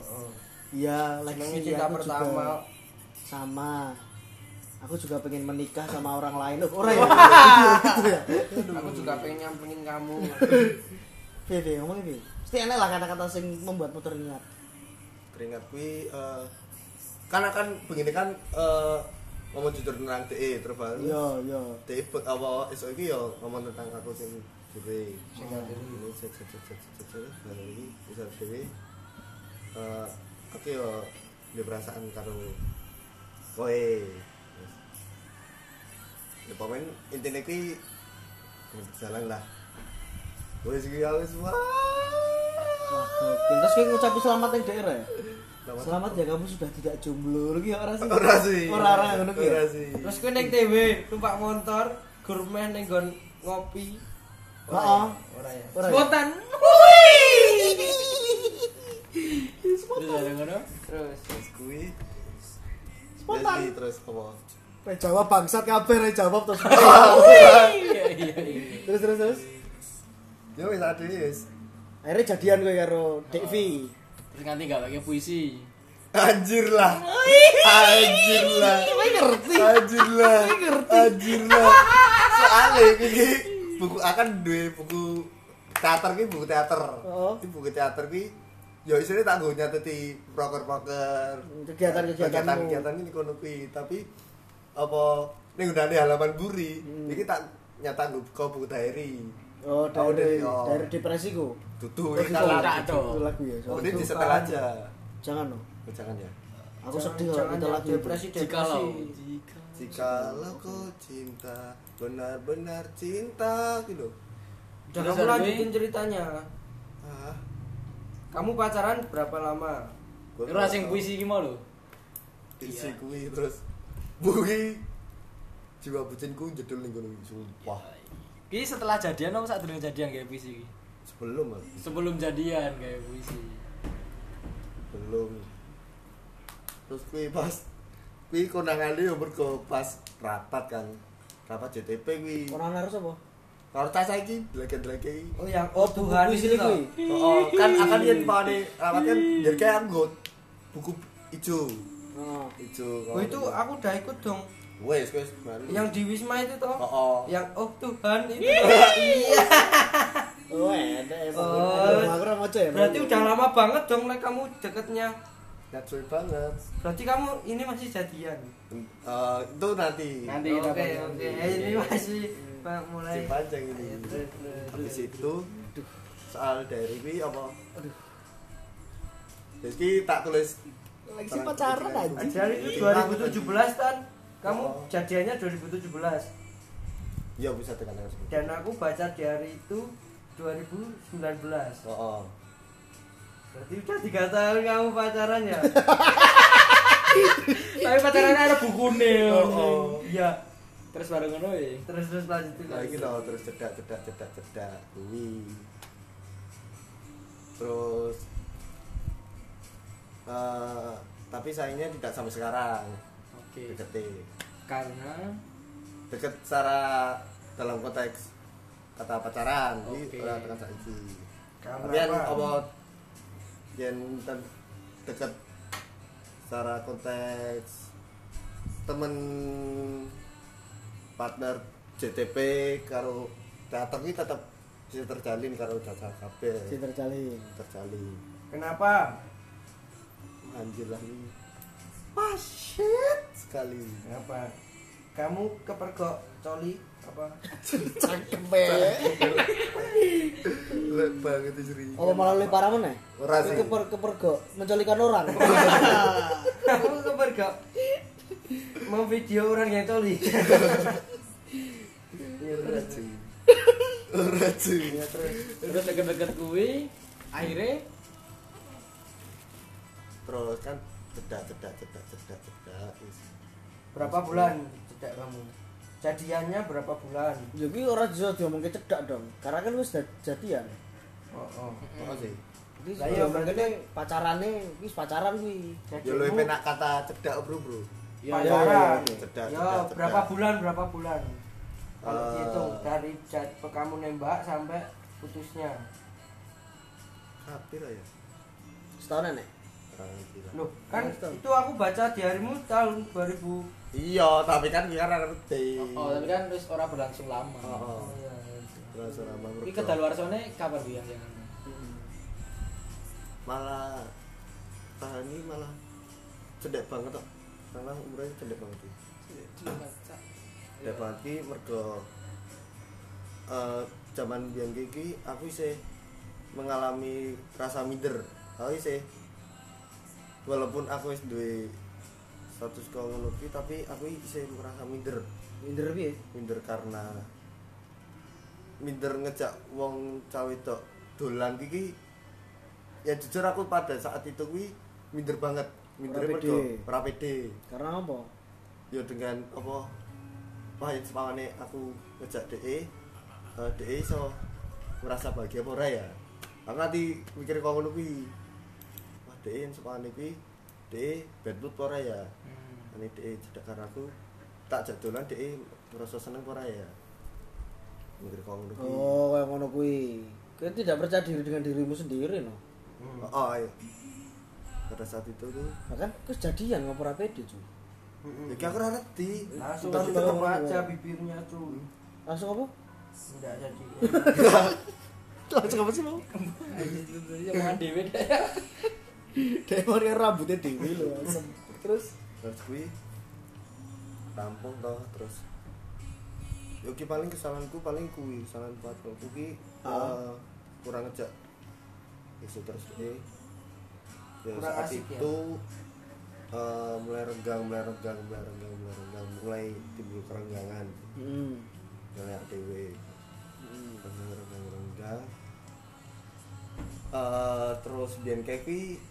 Speaker 1: Iya,
Speaker 5: Jenenge
Speaker 1: Lexi
Speaker 5: cinta
Speaker 1: aku
Speaker 5: pertama.
Speaker 1: juga sama. Aku juga pengen menikah sama orang lain. Loh, orang ya. Gitu ya.
Speaker 5: Aku juga pengen nyampingin kamu.
Speaker 1: Piye piye ngomongnya piye? Mesti enek lah kata-kata sing membuatmu teringat.
Speaker 3: teringat kui eh, karena kan begini kan eh, ngomong jujur tentang DE terus baru
Speaker 1: Iya, iya.
Speaker 3: DE pe- apa esok iki yo ngomong tentang aku sing
Speaker 1: E.
Speaker 3: dhewe ini set set set set set set baru iki bisa dhewe eh, aku yo di perasaan karo kowe Terus, ya pemain intinya kui jalan lah wes iki aku semua
Speaker 1: Wah, gokil. Terus kayak ngucapin selamat yang daerah ya?
Speaker 3: Selamat.
Speaker 1: Selamat ya kamu sudah tidak jomblo lagi ya orang sih.
Speaker 3: Ora sih.
Speaker 1: Ora ora ngono ki ya.
Speaker 3: Ora sih.
Speaker 5: Terus kowe ning TV numpak motor, gurmeh ning nggon ngopi.
Speaker 1: Heeh.
Speaker 5: Ora ya.
Speaker 1: Ora ya?
Speaker 5: Spontan.
Speaker 4: Terus ada ngono.
Speaker 5: Terus
Speaker 3: Terus kui
Speaker 1: Spontan.
Speaker 3: Jadi, terus apa?
Speaker 7: Rek jawab bangsat kabeh rek jawab terus.
Speaker 4: Iya iya iya.
Speaker 1: Terus terus terus.
Speaker 3: Ya wis ade wis.
Speaker 1: Akhirnya jadian gue karo DV.
Speaker 4: Terus nanti gak pakai puisi.
Speaker 3: Anjir lah. Anjir lah.
Speaker 1: ngerti.
Speaker 3: Anjir lah.
Speaker 1: Saya ngerti.
Speaker 3: Anjir lah. Soale iki buku akan duwe buku teater ki buku teater.
Speaker 1: Oh.
Speaker 3: Iki buku teater ki ya isine tak nggo nyateti proker-proker
Speaker 1: Kegiatan-kegiatanmu.
Speaker 3: kegiatan-kegiatan ini kono kuwi tapi apa ning gunane halaman buri iki tak nyata nggo buku diary.
Speaker 1: Hmm. Oh,
Speaker 3: Aku
Speaker 1: dari
Speaker 3: oh.
Speaker 1: dari depresiku. Oh,
Speaker 3: Tutu iki
Speaker 1: gitu.
Speaker 3: tak
Speaker 4: Tak dong.
Speaker 1: Itu lagu ya.
Speaker 3: Oh,
Speaker 1: soal-
Speaker 3: ini disetel aja.
Speaker 1: Jangan loh.
Speaker 3: Oh, jangan ya.
Speaker 1: Aku sedih kalau kita lagi
Speaker 5: depresi
Speaker 4: Jika
Speaker 5: depresi.
Speaker 4: lo.
Speaker 3: Jikalau kau cinta, benar-benar cinta gitu.
Speaker 5: Udah
Speaker 4: Terus
Speaker 5: kamu
Speaker 4: ada
Speaker 5: lanjutin
Speaker 4: nih.
Speaker 5: ceritanya.
Speaker 3: Ah,
Speaker 5: Kamu pacaran berapa lama?
Speaker 3: gua
Speaker 4: Terus
Speaker 3: nggak
Speaker 4: sing
Speaker 3: tahu.
Speaker 4: puisi gimana lo?
Speaker 3: Isi kui terus bui jiwa bucinku jedul nih gunung sumpah
Speaker 4: Ki setelah jadian apa saat dulu jadian kayak puisi? Ki?
Speaker 3: sebelum Mas.
Speaker 4: Sebelum jadian kayak puisi.
Speaker 3: sebelum terus kui pas kui konangan dia berko pas rapat kan rapat JTP kui
Speaker 1: Orang harus apa?
Speaker 3: kalau tas lagi lagi lagi
Speaker 5: Oh yang oh Tuhan
Speaker 1: Puisi
Speaker 5: itu.
Speaker 1: lagi.
Speaker 3: oh kan akan dia pakai rapat kan jadi kayak anggot buku hijau
Speaker 1: Oh.
Speaker 3: hijau
Speaker 5: Oh itu aku udah ikut dong.
Speaker 3: wes wes baru
Speaker 5: Yang di Wisma itu toh.
Speaker 3: Oh, oh.
Speaker 5: Yang oh Tuhan itu. toh. Iya.
Speaker 1: Oh, ada emang.
Speaker 5: Oh.
Speaker 1: Aduh, Aku orang ngoceh ya.
Speaker 5: Berarti udah lama banget dong like kamu deketnya.
Speaker 3: natural banget
Speaker 5: Berarti kamu ini masih jadian.
Speaker 3: Eh, itu nanti
Speaker 4: Nanti kita
Speaker 5: Oke
Speaker 4: bahas.
Speaker 5: oke. Eh, Ini masih Pak, mulai.
Speaker 3: si panjang ini
Speaker 5: Ayo, terus, terus,
Speaker 3: habis
Speaker 5: terus.
Speaker 3: itu soal dari ini apa Terus ki tak tulis
Speaker 1: Lagi sih pacaran aja.
Speaker 5: Jadi itu 2017 kan. Kamu
Speaker 3: Oh.
Speaker 5: jadiannya 2017.
Speaker 3: ya bisa tekan yang sebut
Speaker 5: dan aku baca di hari itu 2019 berarti
Speaker 3: oh, oh.
Speaker 5: udah tiga tahun kamu pacaran ya tapi pacarannya ada buku nih
Speaker 3: Oh, oh.
Speaker 5: iya
Speaker 4: Terus bareng ngono ya.
Speaker 5: terus terus lanjutin
Speaker 3: lagi loh terus cedak cedak cedak cedak kuwi terus eh, tapi sayangnya tidak sampai sekarang
Speaker 4: Oke.
Speaker 3: deketin
Speaker 4: Karena
Speaker 3: deket secara dalam konteks kata pacaran
Speaker 4: Oke.
Speaker 3: iki ora tekan saiki.
Speaker 5: Karena
Speaker 3: Tapi yang
Speaker 5: apa?
Speaker 3: apa yang ten- deket secara konteks temen partner JTP karo teater ini tetap bisa terjalin karo caca kabeh.
Speaker 1: Si terjalin.
Speaker 3: Terjalin.
Speaker 5: kenapa
Speaker 3: Anjir lah ini
Speaker 5: wah shit
Speaker 3: sekali.
Speaker 5: kenapa kamu kepergok coli apa
Speaker 3: Lek banget istri.
Speaker 1: Apa malah lebih parah mana?
Speaker 3: Ora sih.
Speaker 1: Keper kepergok menculikan orang.
Speaker 5: kamu kepergok mau video orang yang coli
Speaker 3: Ora cuy. Ora cuy.
Speaker 4: terus deket-deket kuwi akhirnya
Speaker 3: terus kan cedak cedak cedak cedak cedak terus
Speaker 5: berapa bulan tidak kamu jadiannya berapa bulan
Speaker 1: Jadi orang bisa diomongin cedak dong. Karena kan wis jad- jadian.
Speaker 5: oh, oh.
Speaker 3: apa sih
Speaker 1: Jadi
Speaker 5: Lah iya,
Speaker 1: sebenarnya pacarane wis pacaran kuwi.
Speaker 3: ya lu enak kata cedak bro bro
Speaker 1: Iya,
Speaker 8: pacaran
Speaker 1: iya, iya, iya.
Speaker 3: Cerdas,
Speaker 8: ya
Speaker 3: cerdas,
Speaker 8: berapa
Speaker 3: cerdas.
Speaker 8: bulan berapa bulan kalau
Speaker 3: Eh.
Speaker 8: dihitung dari jad- kamu nembak sampai putusnya
Speaker 3: Kapir ya.
Speaker 1: Setahunan ya?
Speaker 3: Orang gila.
Speaker 8: loh kan
Speaker 1: Terus, Tom.
Speaker 8: itu aku baca di harimu tahun 2000
Speaker 3: Iya, tapi kan kita ora ngerti.
Speaker 4: Oh, tapi kan wis ora berlangsung lama.
Speaker 3: Heeh.
Speaker 8: Oh, iya, iya.
Speaker 3: Terus ora mau
Speaker 4: Iki
Speaker 3: mergo.
Speaker 4: kedaluarsane kabar biyen ya.
Speaker 3: Malah Tahani malah cedek banget kok. Malah umurnya cedek banget. Ki. Cedek banget ki mergo eh zaman biyen ki ki aku isih mengalami rasa minder. Aku isih walaupun aku wis duwe status kau ngono ki, tapi aku isih merasa minder.
Speaker 1: Minder piye?
Speaker 3: minder karena minder ngejak wong cawe tok dolan iki ya jujur aku pada saat itu kuwi minder banget minder
Speaker 1: Ora
Speaker 3: mergo
Speaker 1: pede.
Speaker 3: ora pede
Speaker 1: Karena apa?
Speaker 3: ya dengan apa pahit sepawane aku ngejak DE eh DE iso merasa bahagia apa ora ya aku nanti mikir kok ngono kuwi wah DE yang sepawane kuwi DE bad mood apa ora ya ini DE cedak karena aku tak jadolan DE E merasa seneng apa ora ya mikir kok ngono kuwi oh,
Speaker 1: Oh, kayak ngono kuwi. Kau tidak percaya diri dengan dirimu sendiri no.
Speaker 3: oh iya pada saat itu tuh
Speaker 1: Bahkan kau jadian nggak pernah pede cuy.
Speaker 3: ya aku ora ngerti
Speaker 8: langsung
Speaker 3: Entah
Speaker 8: ditutup
Speaker 1: kita-
Speaker 8: aja bibirnya cuy
Speaker 1: Langsung apa?
Speaker 8: tidak jadi
Speaker 7: Langsung apa sih mau?
Speaker 4: Jadi omongan dhewe deh.
Speaker 1: Dia mau lihat rambutnya dewi loh. Terus?
Speaker 3: terus gue tampung toh terus yo ki paling kesalahanku paling kuwi kesalahan patro kuwi
Speaker 8: Ah.
Speaker 3: eh, kurang ngejak itu terus deh ya,
Speaker 8: Kurang
Speaker 3: saat
Speaker 8: asik ya?
Speaker 3: itu eh, mulai renggang mulai renggang mulai renggang mulai renggang mulai timbul kerenggangan
Speaker 1: Hmm.
Speaker 3: kayak dewe renggang renggang renggang Eh, terus biyen kevi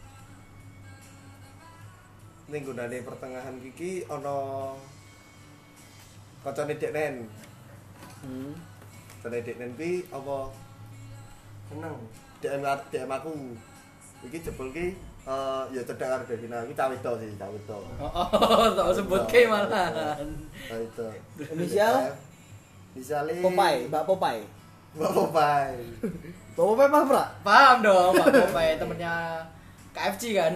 Speaker 3: ning gunane pertengahan iki ana kancane Deknen.
Speaker 1: Hmm.
Speaker 3: Kancane Deknen kuwi apa
Speaker 8: seneng
Speaker 3: DM ar- DM aku. Iki jebul ki eh ya cedak karo Devina iki cah wedok sih, cah wedok.
Speaker 4: Oh, tak sebutke malah.
Speaker 3: Cah wedok.
Speaker 1: Inisial? Eh.
Speaker 3: Inisiale
Speaker 1: Popeye, Mbak Popeye.
Speaker 3: Mbak Popeye.
Speaker 1: Mbak Popeye paham pra?
Speaker 4: Paham dong, Pak Popeye temennya KFC kan.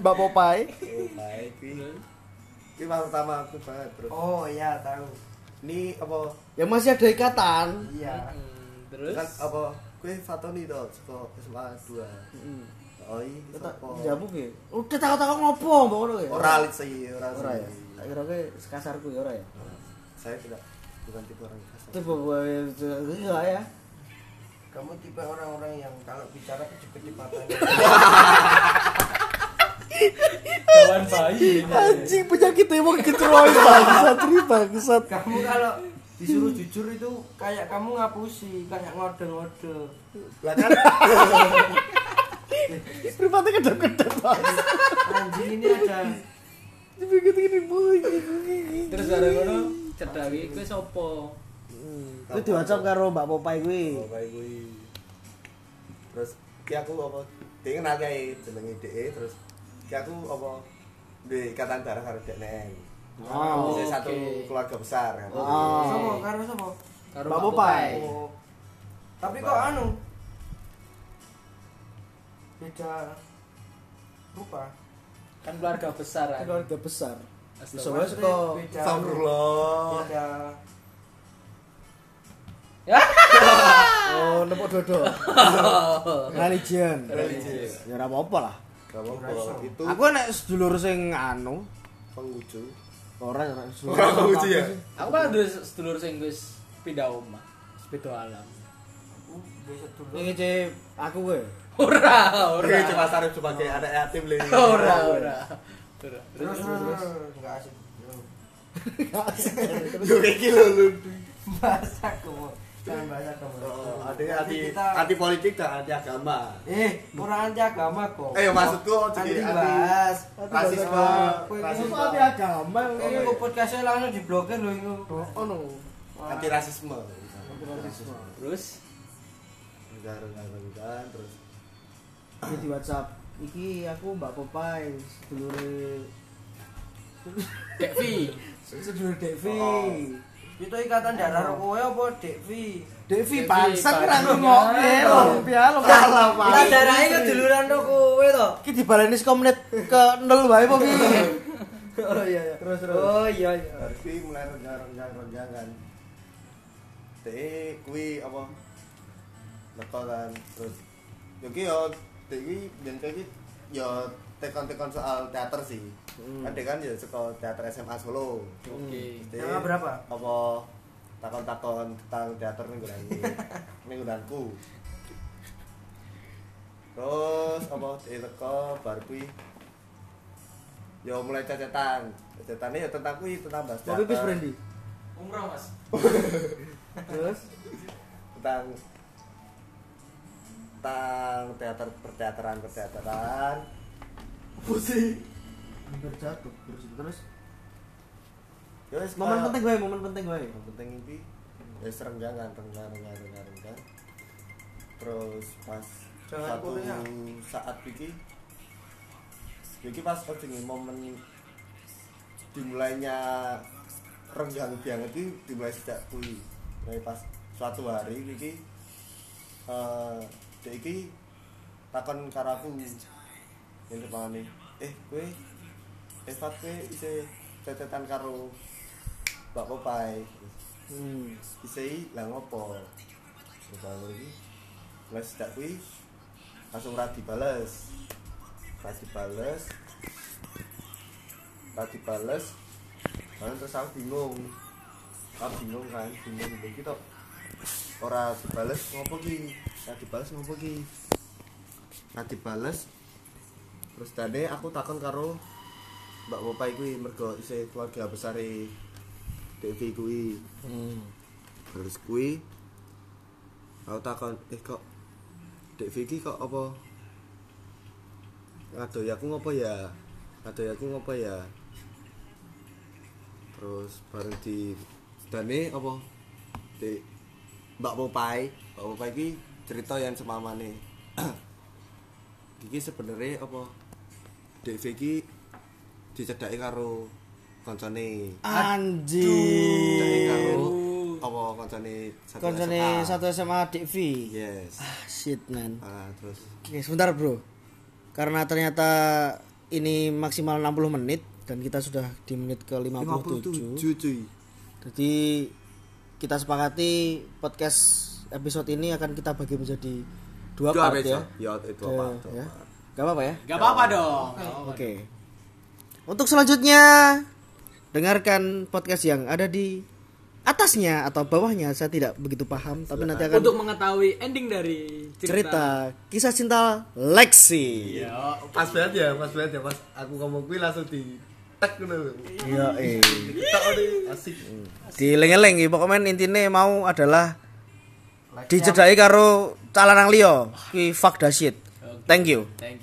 Speaker 7: Mbak Popai.
Speaker 3: Popeye kuwi. Kuwi mah pertama aku banget terus.
Speaker 8: oh iya tahu
Speaker 3: Ini apa
Speaker 1: Ya masih ada ikatan.
Speaker 8: iya
Speaker 4: Hmm,
Speaker 3: kan
Speaker 4: Terus
Speaker 3: apa kuwi Fatoni to saka SMA 2.
Speaker 1: Hmm.
Speaker 3: Oh iya,
Speaker 1: Tak
Speaker 3: saka-
Speaker 1: jawab ya. Udah takut-takut ngopo mbak ngono ya?
Speaker 3: Ora lit sih, ora
Speaker 1: Ora ya.
Speaker 3: sih. Nah,
Speaker 1: Tak kira kayak sekasar kuwi ora ya.
Speaker 3: Saya tidak bukan tipe orang kasar.
Speaker 1: Itu bawa ya.
Speaker 8: kamu tipe orang-orang yang kalau bicara kecil-kecil matanya
Speaker 4: kawan bayi.
Speaker 7: Anjing penyakitnya emang keceroy bangsat, ri bangsat.
Speaker 8: kamu kalau disuruh jujur itu kayak kamu ngapusi kayak ngode-ngode
Speaker 3: Lah kan
Speaker 7: Rupanya kedap-kedap banget.
Speaker 8: anjing ini ada
Speaker 7: Begitu gini boy.
Speaker 4: Terus ada ngono cedak iki kowe sapa?
Speaker 1: Itu di WhatsApp karo Mbak Popeye kuwi.
Speaker 3: Oh, baik gue. Terus ki aku apa dia kenal kae jenenge DE terus ki aku apa di ikatan darah karo Dek Neng.
Speaker 1: Oh,
Speaker 3: Bisa satu
Speaker 4: oke.
Speaker 3: keluarga besar kan.
Speaker 5: Ah,
Speaker 8: sopo
Speaker 1: Oh.
Speaker 8: karo sopo
Speaker 4: Karo
Speaker 1: Mbak
Speaker 4: Pak
Speaker 1: Popeye.
Speaker 4: Popeye.
Speaker 8: Oh. tapi kok anu beda rupa
Speaker 4: Kan keluarga besar kan.
Speaker 1: Keluarga besar. Bisa
Speaker 4: Astaga.
Speaker 1: wae saka
Speaker 8: beda
Speaker 3: Astagfirullah.
Speaker 8: beda
Speaker 1: oh nepok dodo. Religion.
Speaker 3: Religion.
Speaker 1: Ya ora apa-apa lah.
Speaker 3: Gak apa-apa. Itu
Speaker 7: Aku enak sedulur sing anu,
Speaker 3: pengucu.
Speaker 1: Ora ora suruh.
Speaker 3: Orang pengucu ya.
Speaker 4: Aku malah dulu sedulur sing wis pindah omah, wis beda alam.
Speaker 8: aku biasa dulu
Speaker 1: Iki ce aku kowe.
Speaker 4: Ora, ora.
Speaker 3: Oke, coba sarip sebagai anak yatim lagi.
Speaker 4: Ora, ora. Ora.
Speaker 8: terus terus terus. nggak asik
Speaker 3: Lu iki lho lu.
Speaker 8: bahasa kamu jangan bahasa kamu
Speaker 3: Oh, Ada
Speaker 8: Nanti
Speaker 3: anti
Speaker 8: kita
Speaker 3: anti politik dan anti agama.
Speaker 8: eh kurang anti agama kok
Speaker 3: Eh maksudku
Speaker 8: nanti
Speaker 3: jadi anti
Speaker 8: dibahas
Speaker 3: rasisme,
Speaker 8: Kowe iki
Speaker 3: rasisme,
Speaker 1: Apa agama
Speaker 8: Ini kok podcastnya langsung diblokir loh itu.
Speaker 1: Oh no.
Speaker 3: anti rasisme.
Speaker 4: Terus
Speaker 3: Negara-negara terus
Speaker 1: Iki di WhatsApp. Iki aku Mbak Popeye sedulure
Speaker 4: Devi.
Speaker 1: Sedulur Devi.
Speaker 5: Itu ikatan darah karo
Speaker 1: Oh.
Speaker 5: kowe apa Devi?
Speaker 1: Devi
Speaker 4: Devi,
Speaker 1: bangsat
Speaker 4: bangsat.
Speaker 1: ra ngomongke lho, piye lho. Salah
Speaker 5: Ikatan darah itu duluran karo kowe to.
Speaker 1: Iki dibaleni saka menit ke 0 wae apa piye?
Speaker 5: Oh iya iya.
Speaker 3: Terus, terus.
Speaker 5: Oh iya iya.
Speaker 3: Harfi mulai renjang-renjang kan. Te kui apa? Leko kan terus. Yo ki yo te kui yen te ki yo tekon-tekon soal teater sih. Kan dia kan ya saka teater SMA Solo.
Speaker 4: Hmm. Oke.
Speaker 3: Te-
Speaker 5: Nama berapa?
Speaker 3: Apa takon-takon tentang teater mingguan ini. Mingguanku. Terus apa te teko bar kui Yo mulai cacetan. Cacetane yo tentang kui tentang bahas
Speaker 1: Tapi wis Randy.
Speaker 9: Umroh, Mas.
Speaker 1: Terus
Speaker 3: tentang tentang teater perteateran perteateran
Speaker 1: hampir jatuh terus terus. Eh,
Speaker 3: ya wes
Speaker 1: Momen
Speaker 3: kayak-
Speaker 1: penting wae, momen penting wae.
Speaker 3: yang penting mimpi ya serenggang kan renggang renggang renggang renggang terus pas
Speaker 5: Jangan
Speaker 3: satu
Speaker 5: kuliah.
Speaker 3: saat iki iki pas penting momen dimulainya renggang banget itu dimulai sejak kui mulai pas suatu hari iki eh dek iki takon karo aku yang depan eh kue eh Fat, kue isi cetetan karo Mbak Popai
Speaker 1: Hmm.
Speaker 3: isei lah ngopo kalau lagi les tak kui langsung rati bales rati bales rati bales kan terus aku bingung aku bingung kan bingung bingung gitu ora dibales ngopo ki ora dibales ngopo ki ora dibales terus tadi aku takon karo mbak bapak kuwi mergo isih keluarga besar Devi kuwi terus kui aku takon eh kok dek Vicky kok apa ngadoy aku ngopo ya ngadoy aku ngopo ya terus bareng di dane apa di Mbak Popai Mbak Popai ki cerita yang semamane iki sebenarnya apa dek Vicky dicedhaki karo koncone dicedhaki
Speaker 1: Anjir.
Speaker 3: karo apa koncone satu
Speaker 1: Koncone
Speaker 3: SMA.
Speaker 1: satu SMA DV.
Speaker 3: Yes.
Speaker 1: Shit man.
Speaker 3: Ah, terus
Speaker 1: Oke, sebentar bro. Karena ternyata ini maksimal 60 menit dan kita sudah di menit ke 57.
Speaker 3: 57 cuy.
Speaker 1: Jadi kita sepakati podcast episode ini akan kita bagi menjadi dua,
Speaker 3: Dua
Speaker 1: part ya.
Speaker 3: besok. Ya, itu apa?
Speaker 1: Dua, ya. Gak apa-apa ya?
Speaker 4: Gak apa-apa dong.
Speaker 1: Oke. Untuk selanjutnya dengarkan podcast yang ada di atasnya atau bawahnya saya tidak begitu paham tapi nanti akan
Speaker 4: Untuk mengetahui ending dari cerita.
Speaker 1: cerita kisah cinta Lexi.
Speaker 4: Ya,
Speaker 3: Pas banget ya, pas banget ya, pas aku ngomong kuwi langsung di tek ngono.
Speaker 1: Iya, eh.
Speaker 3: Tek ini asik.
Speaker 1: di leng pokoknya intine mau adalah dicedai karo calon liya ki fuck that shit thank you
Speaker 4: thank you.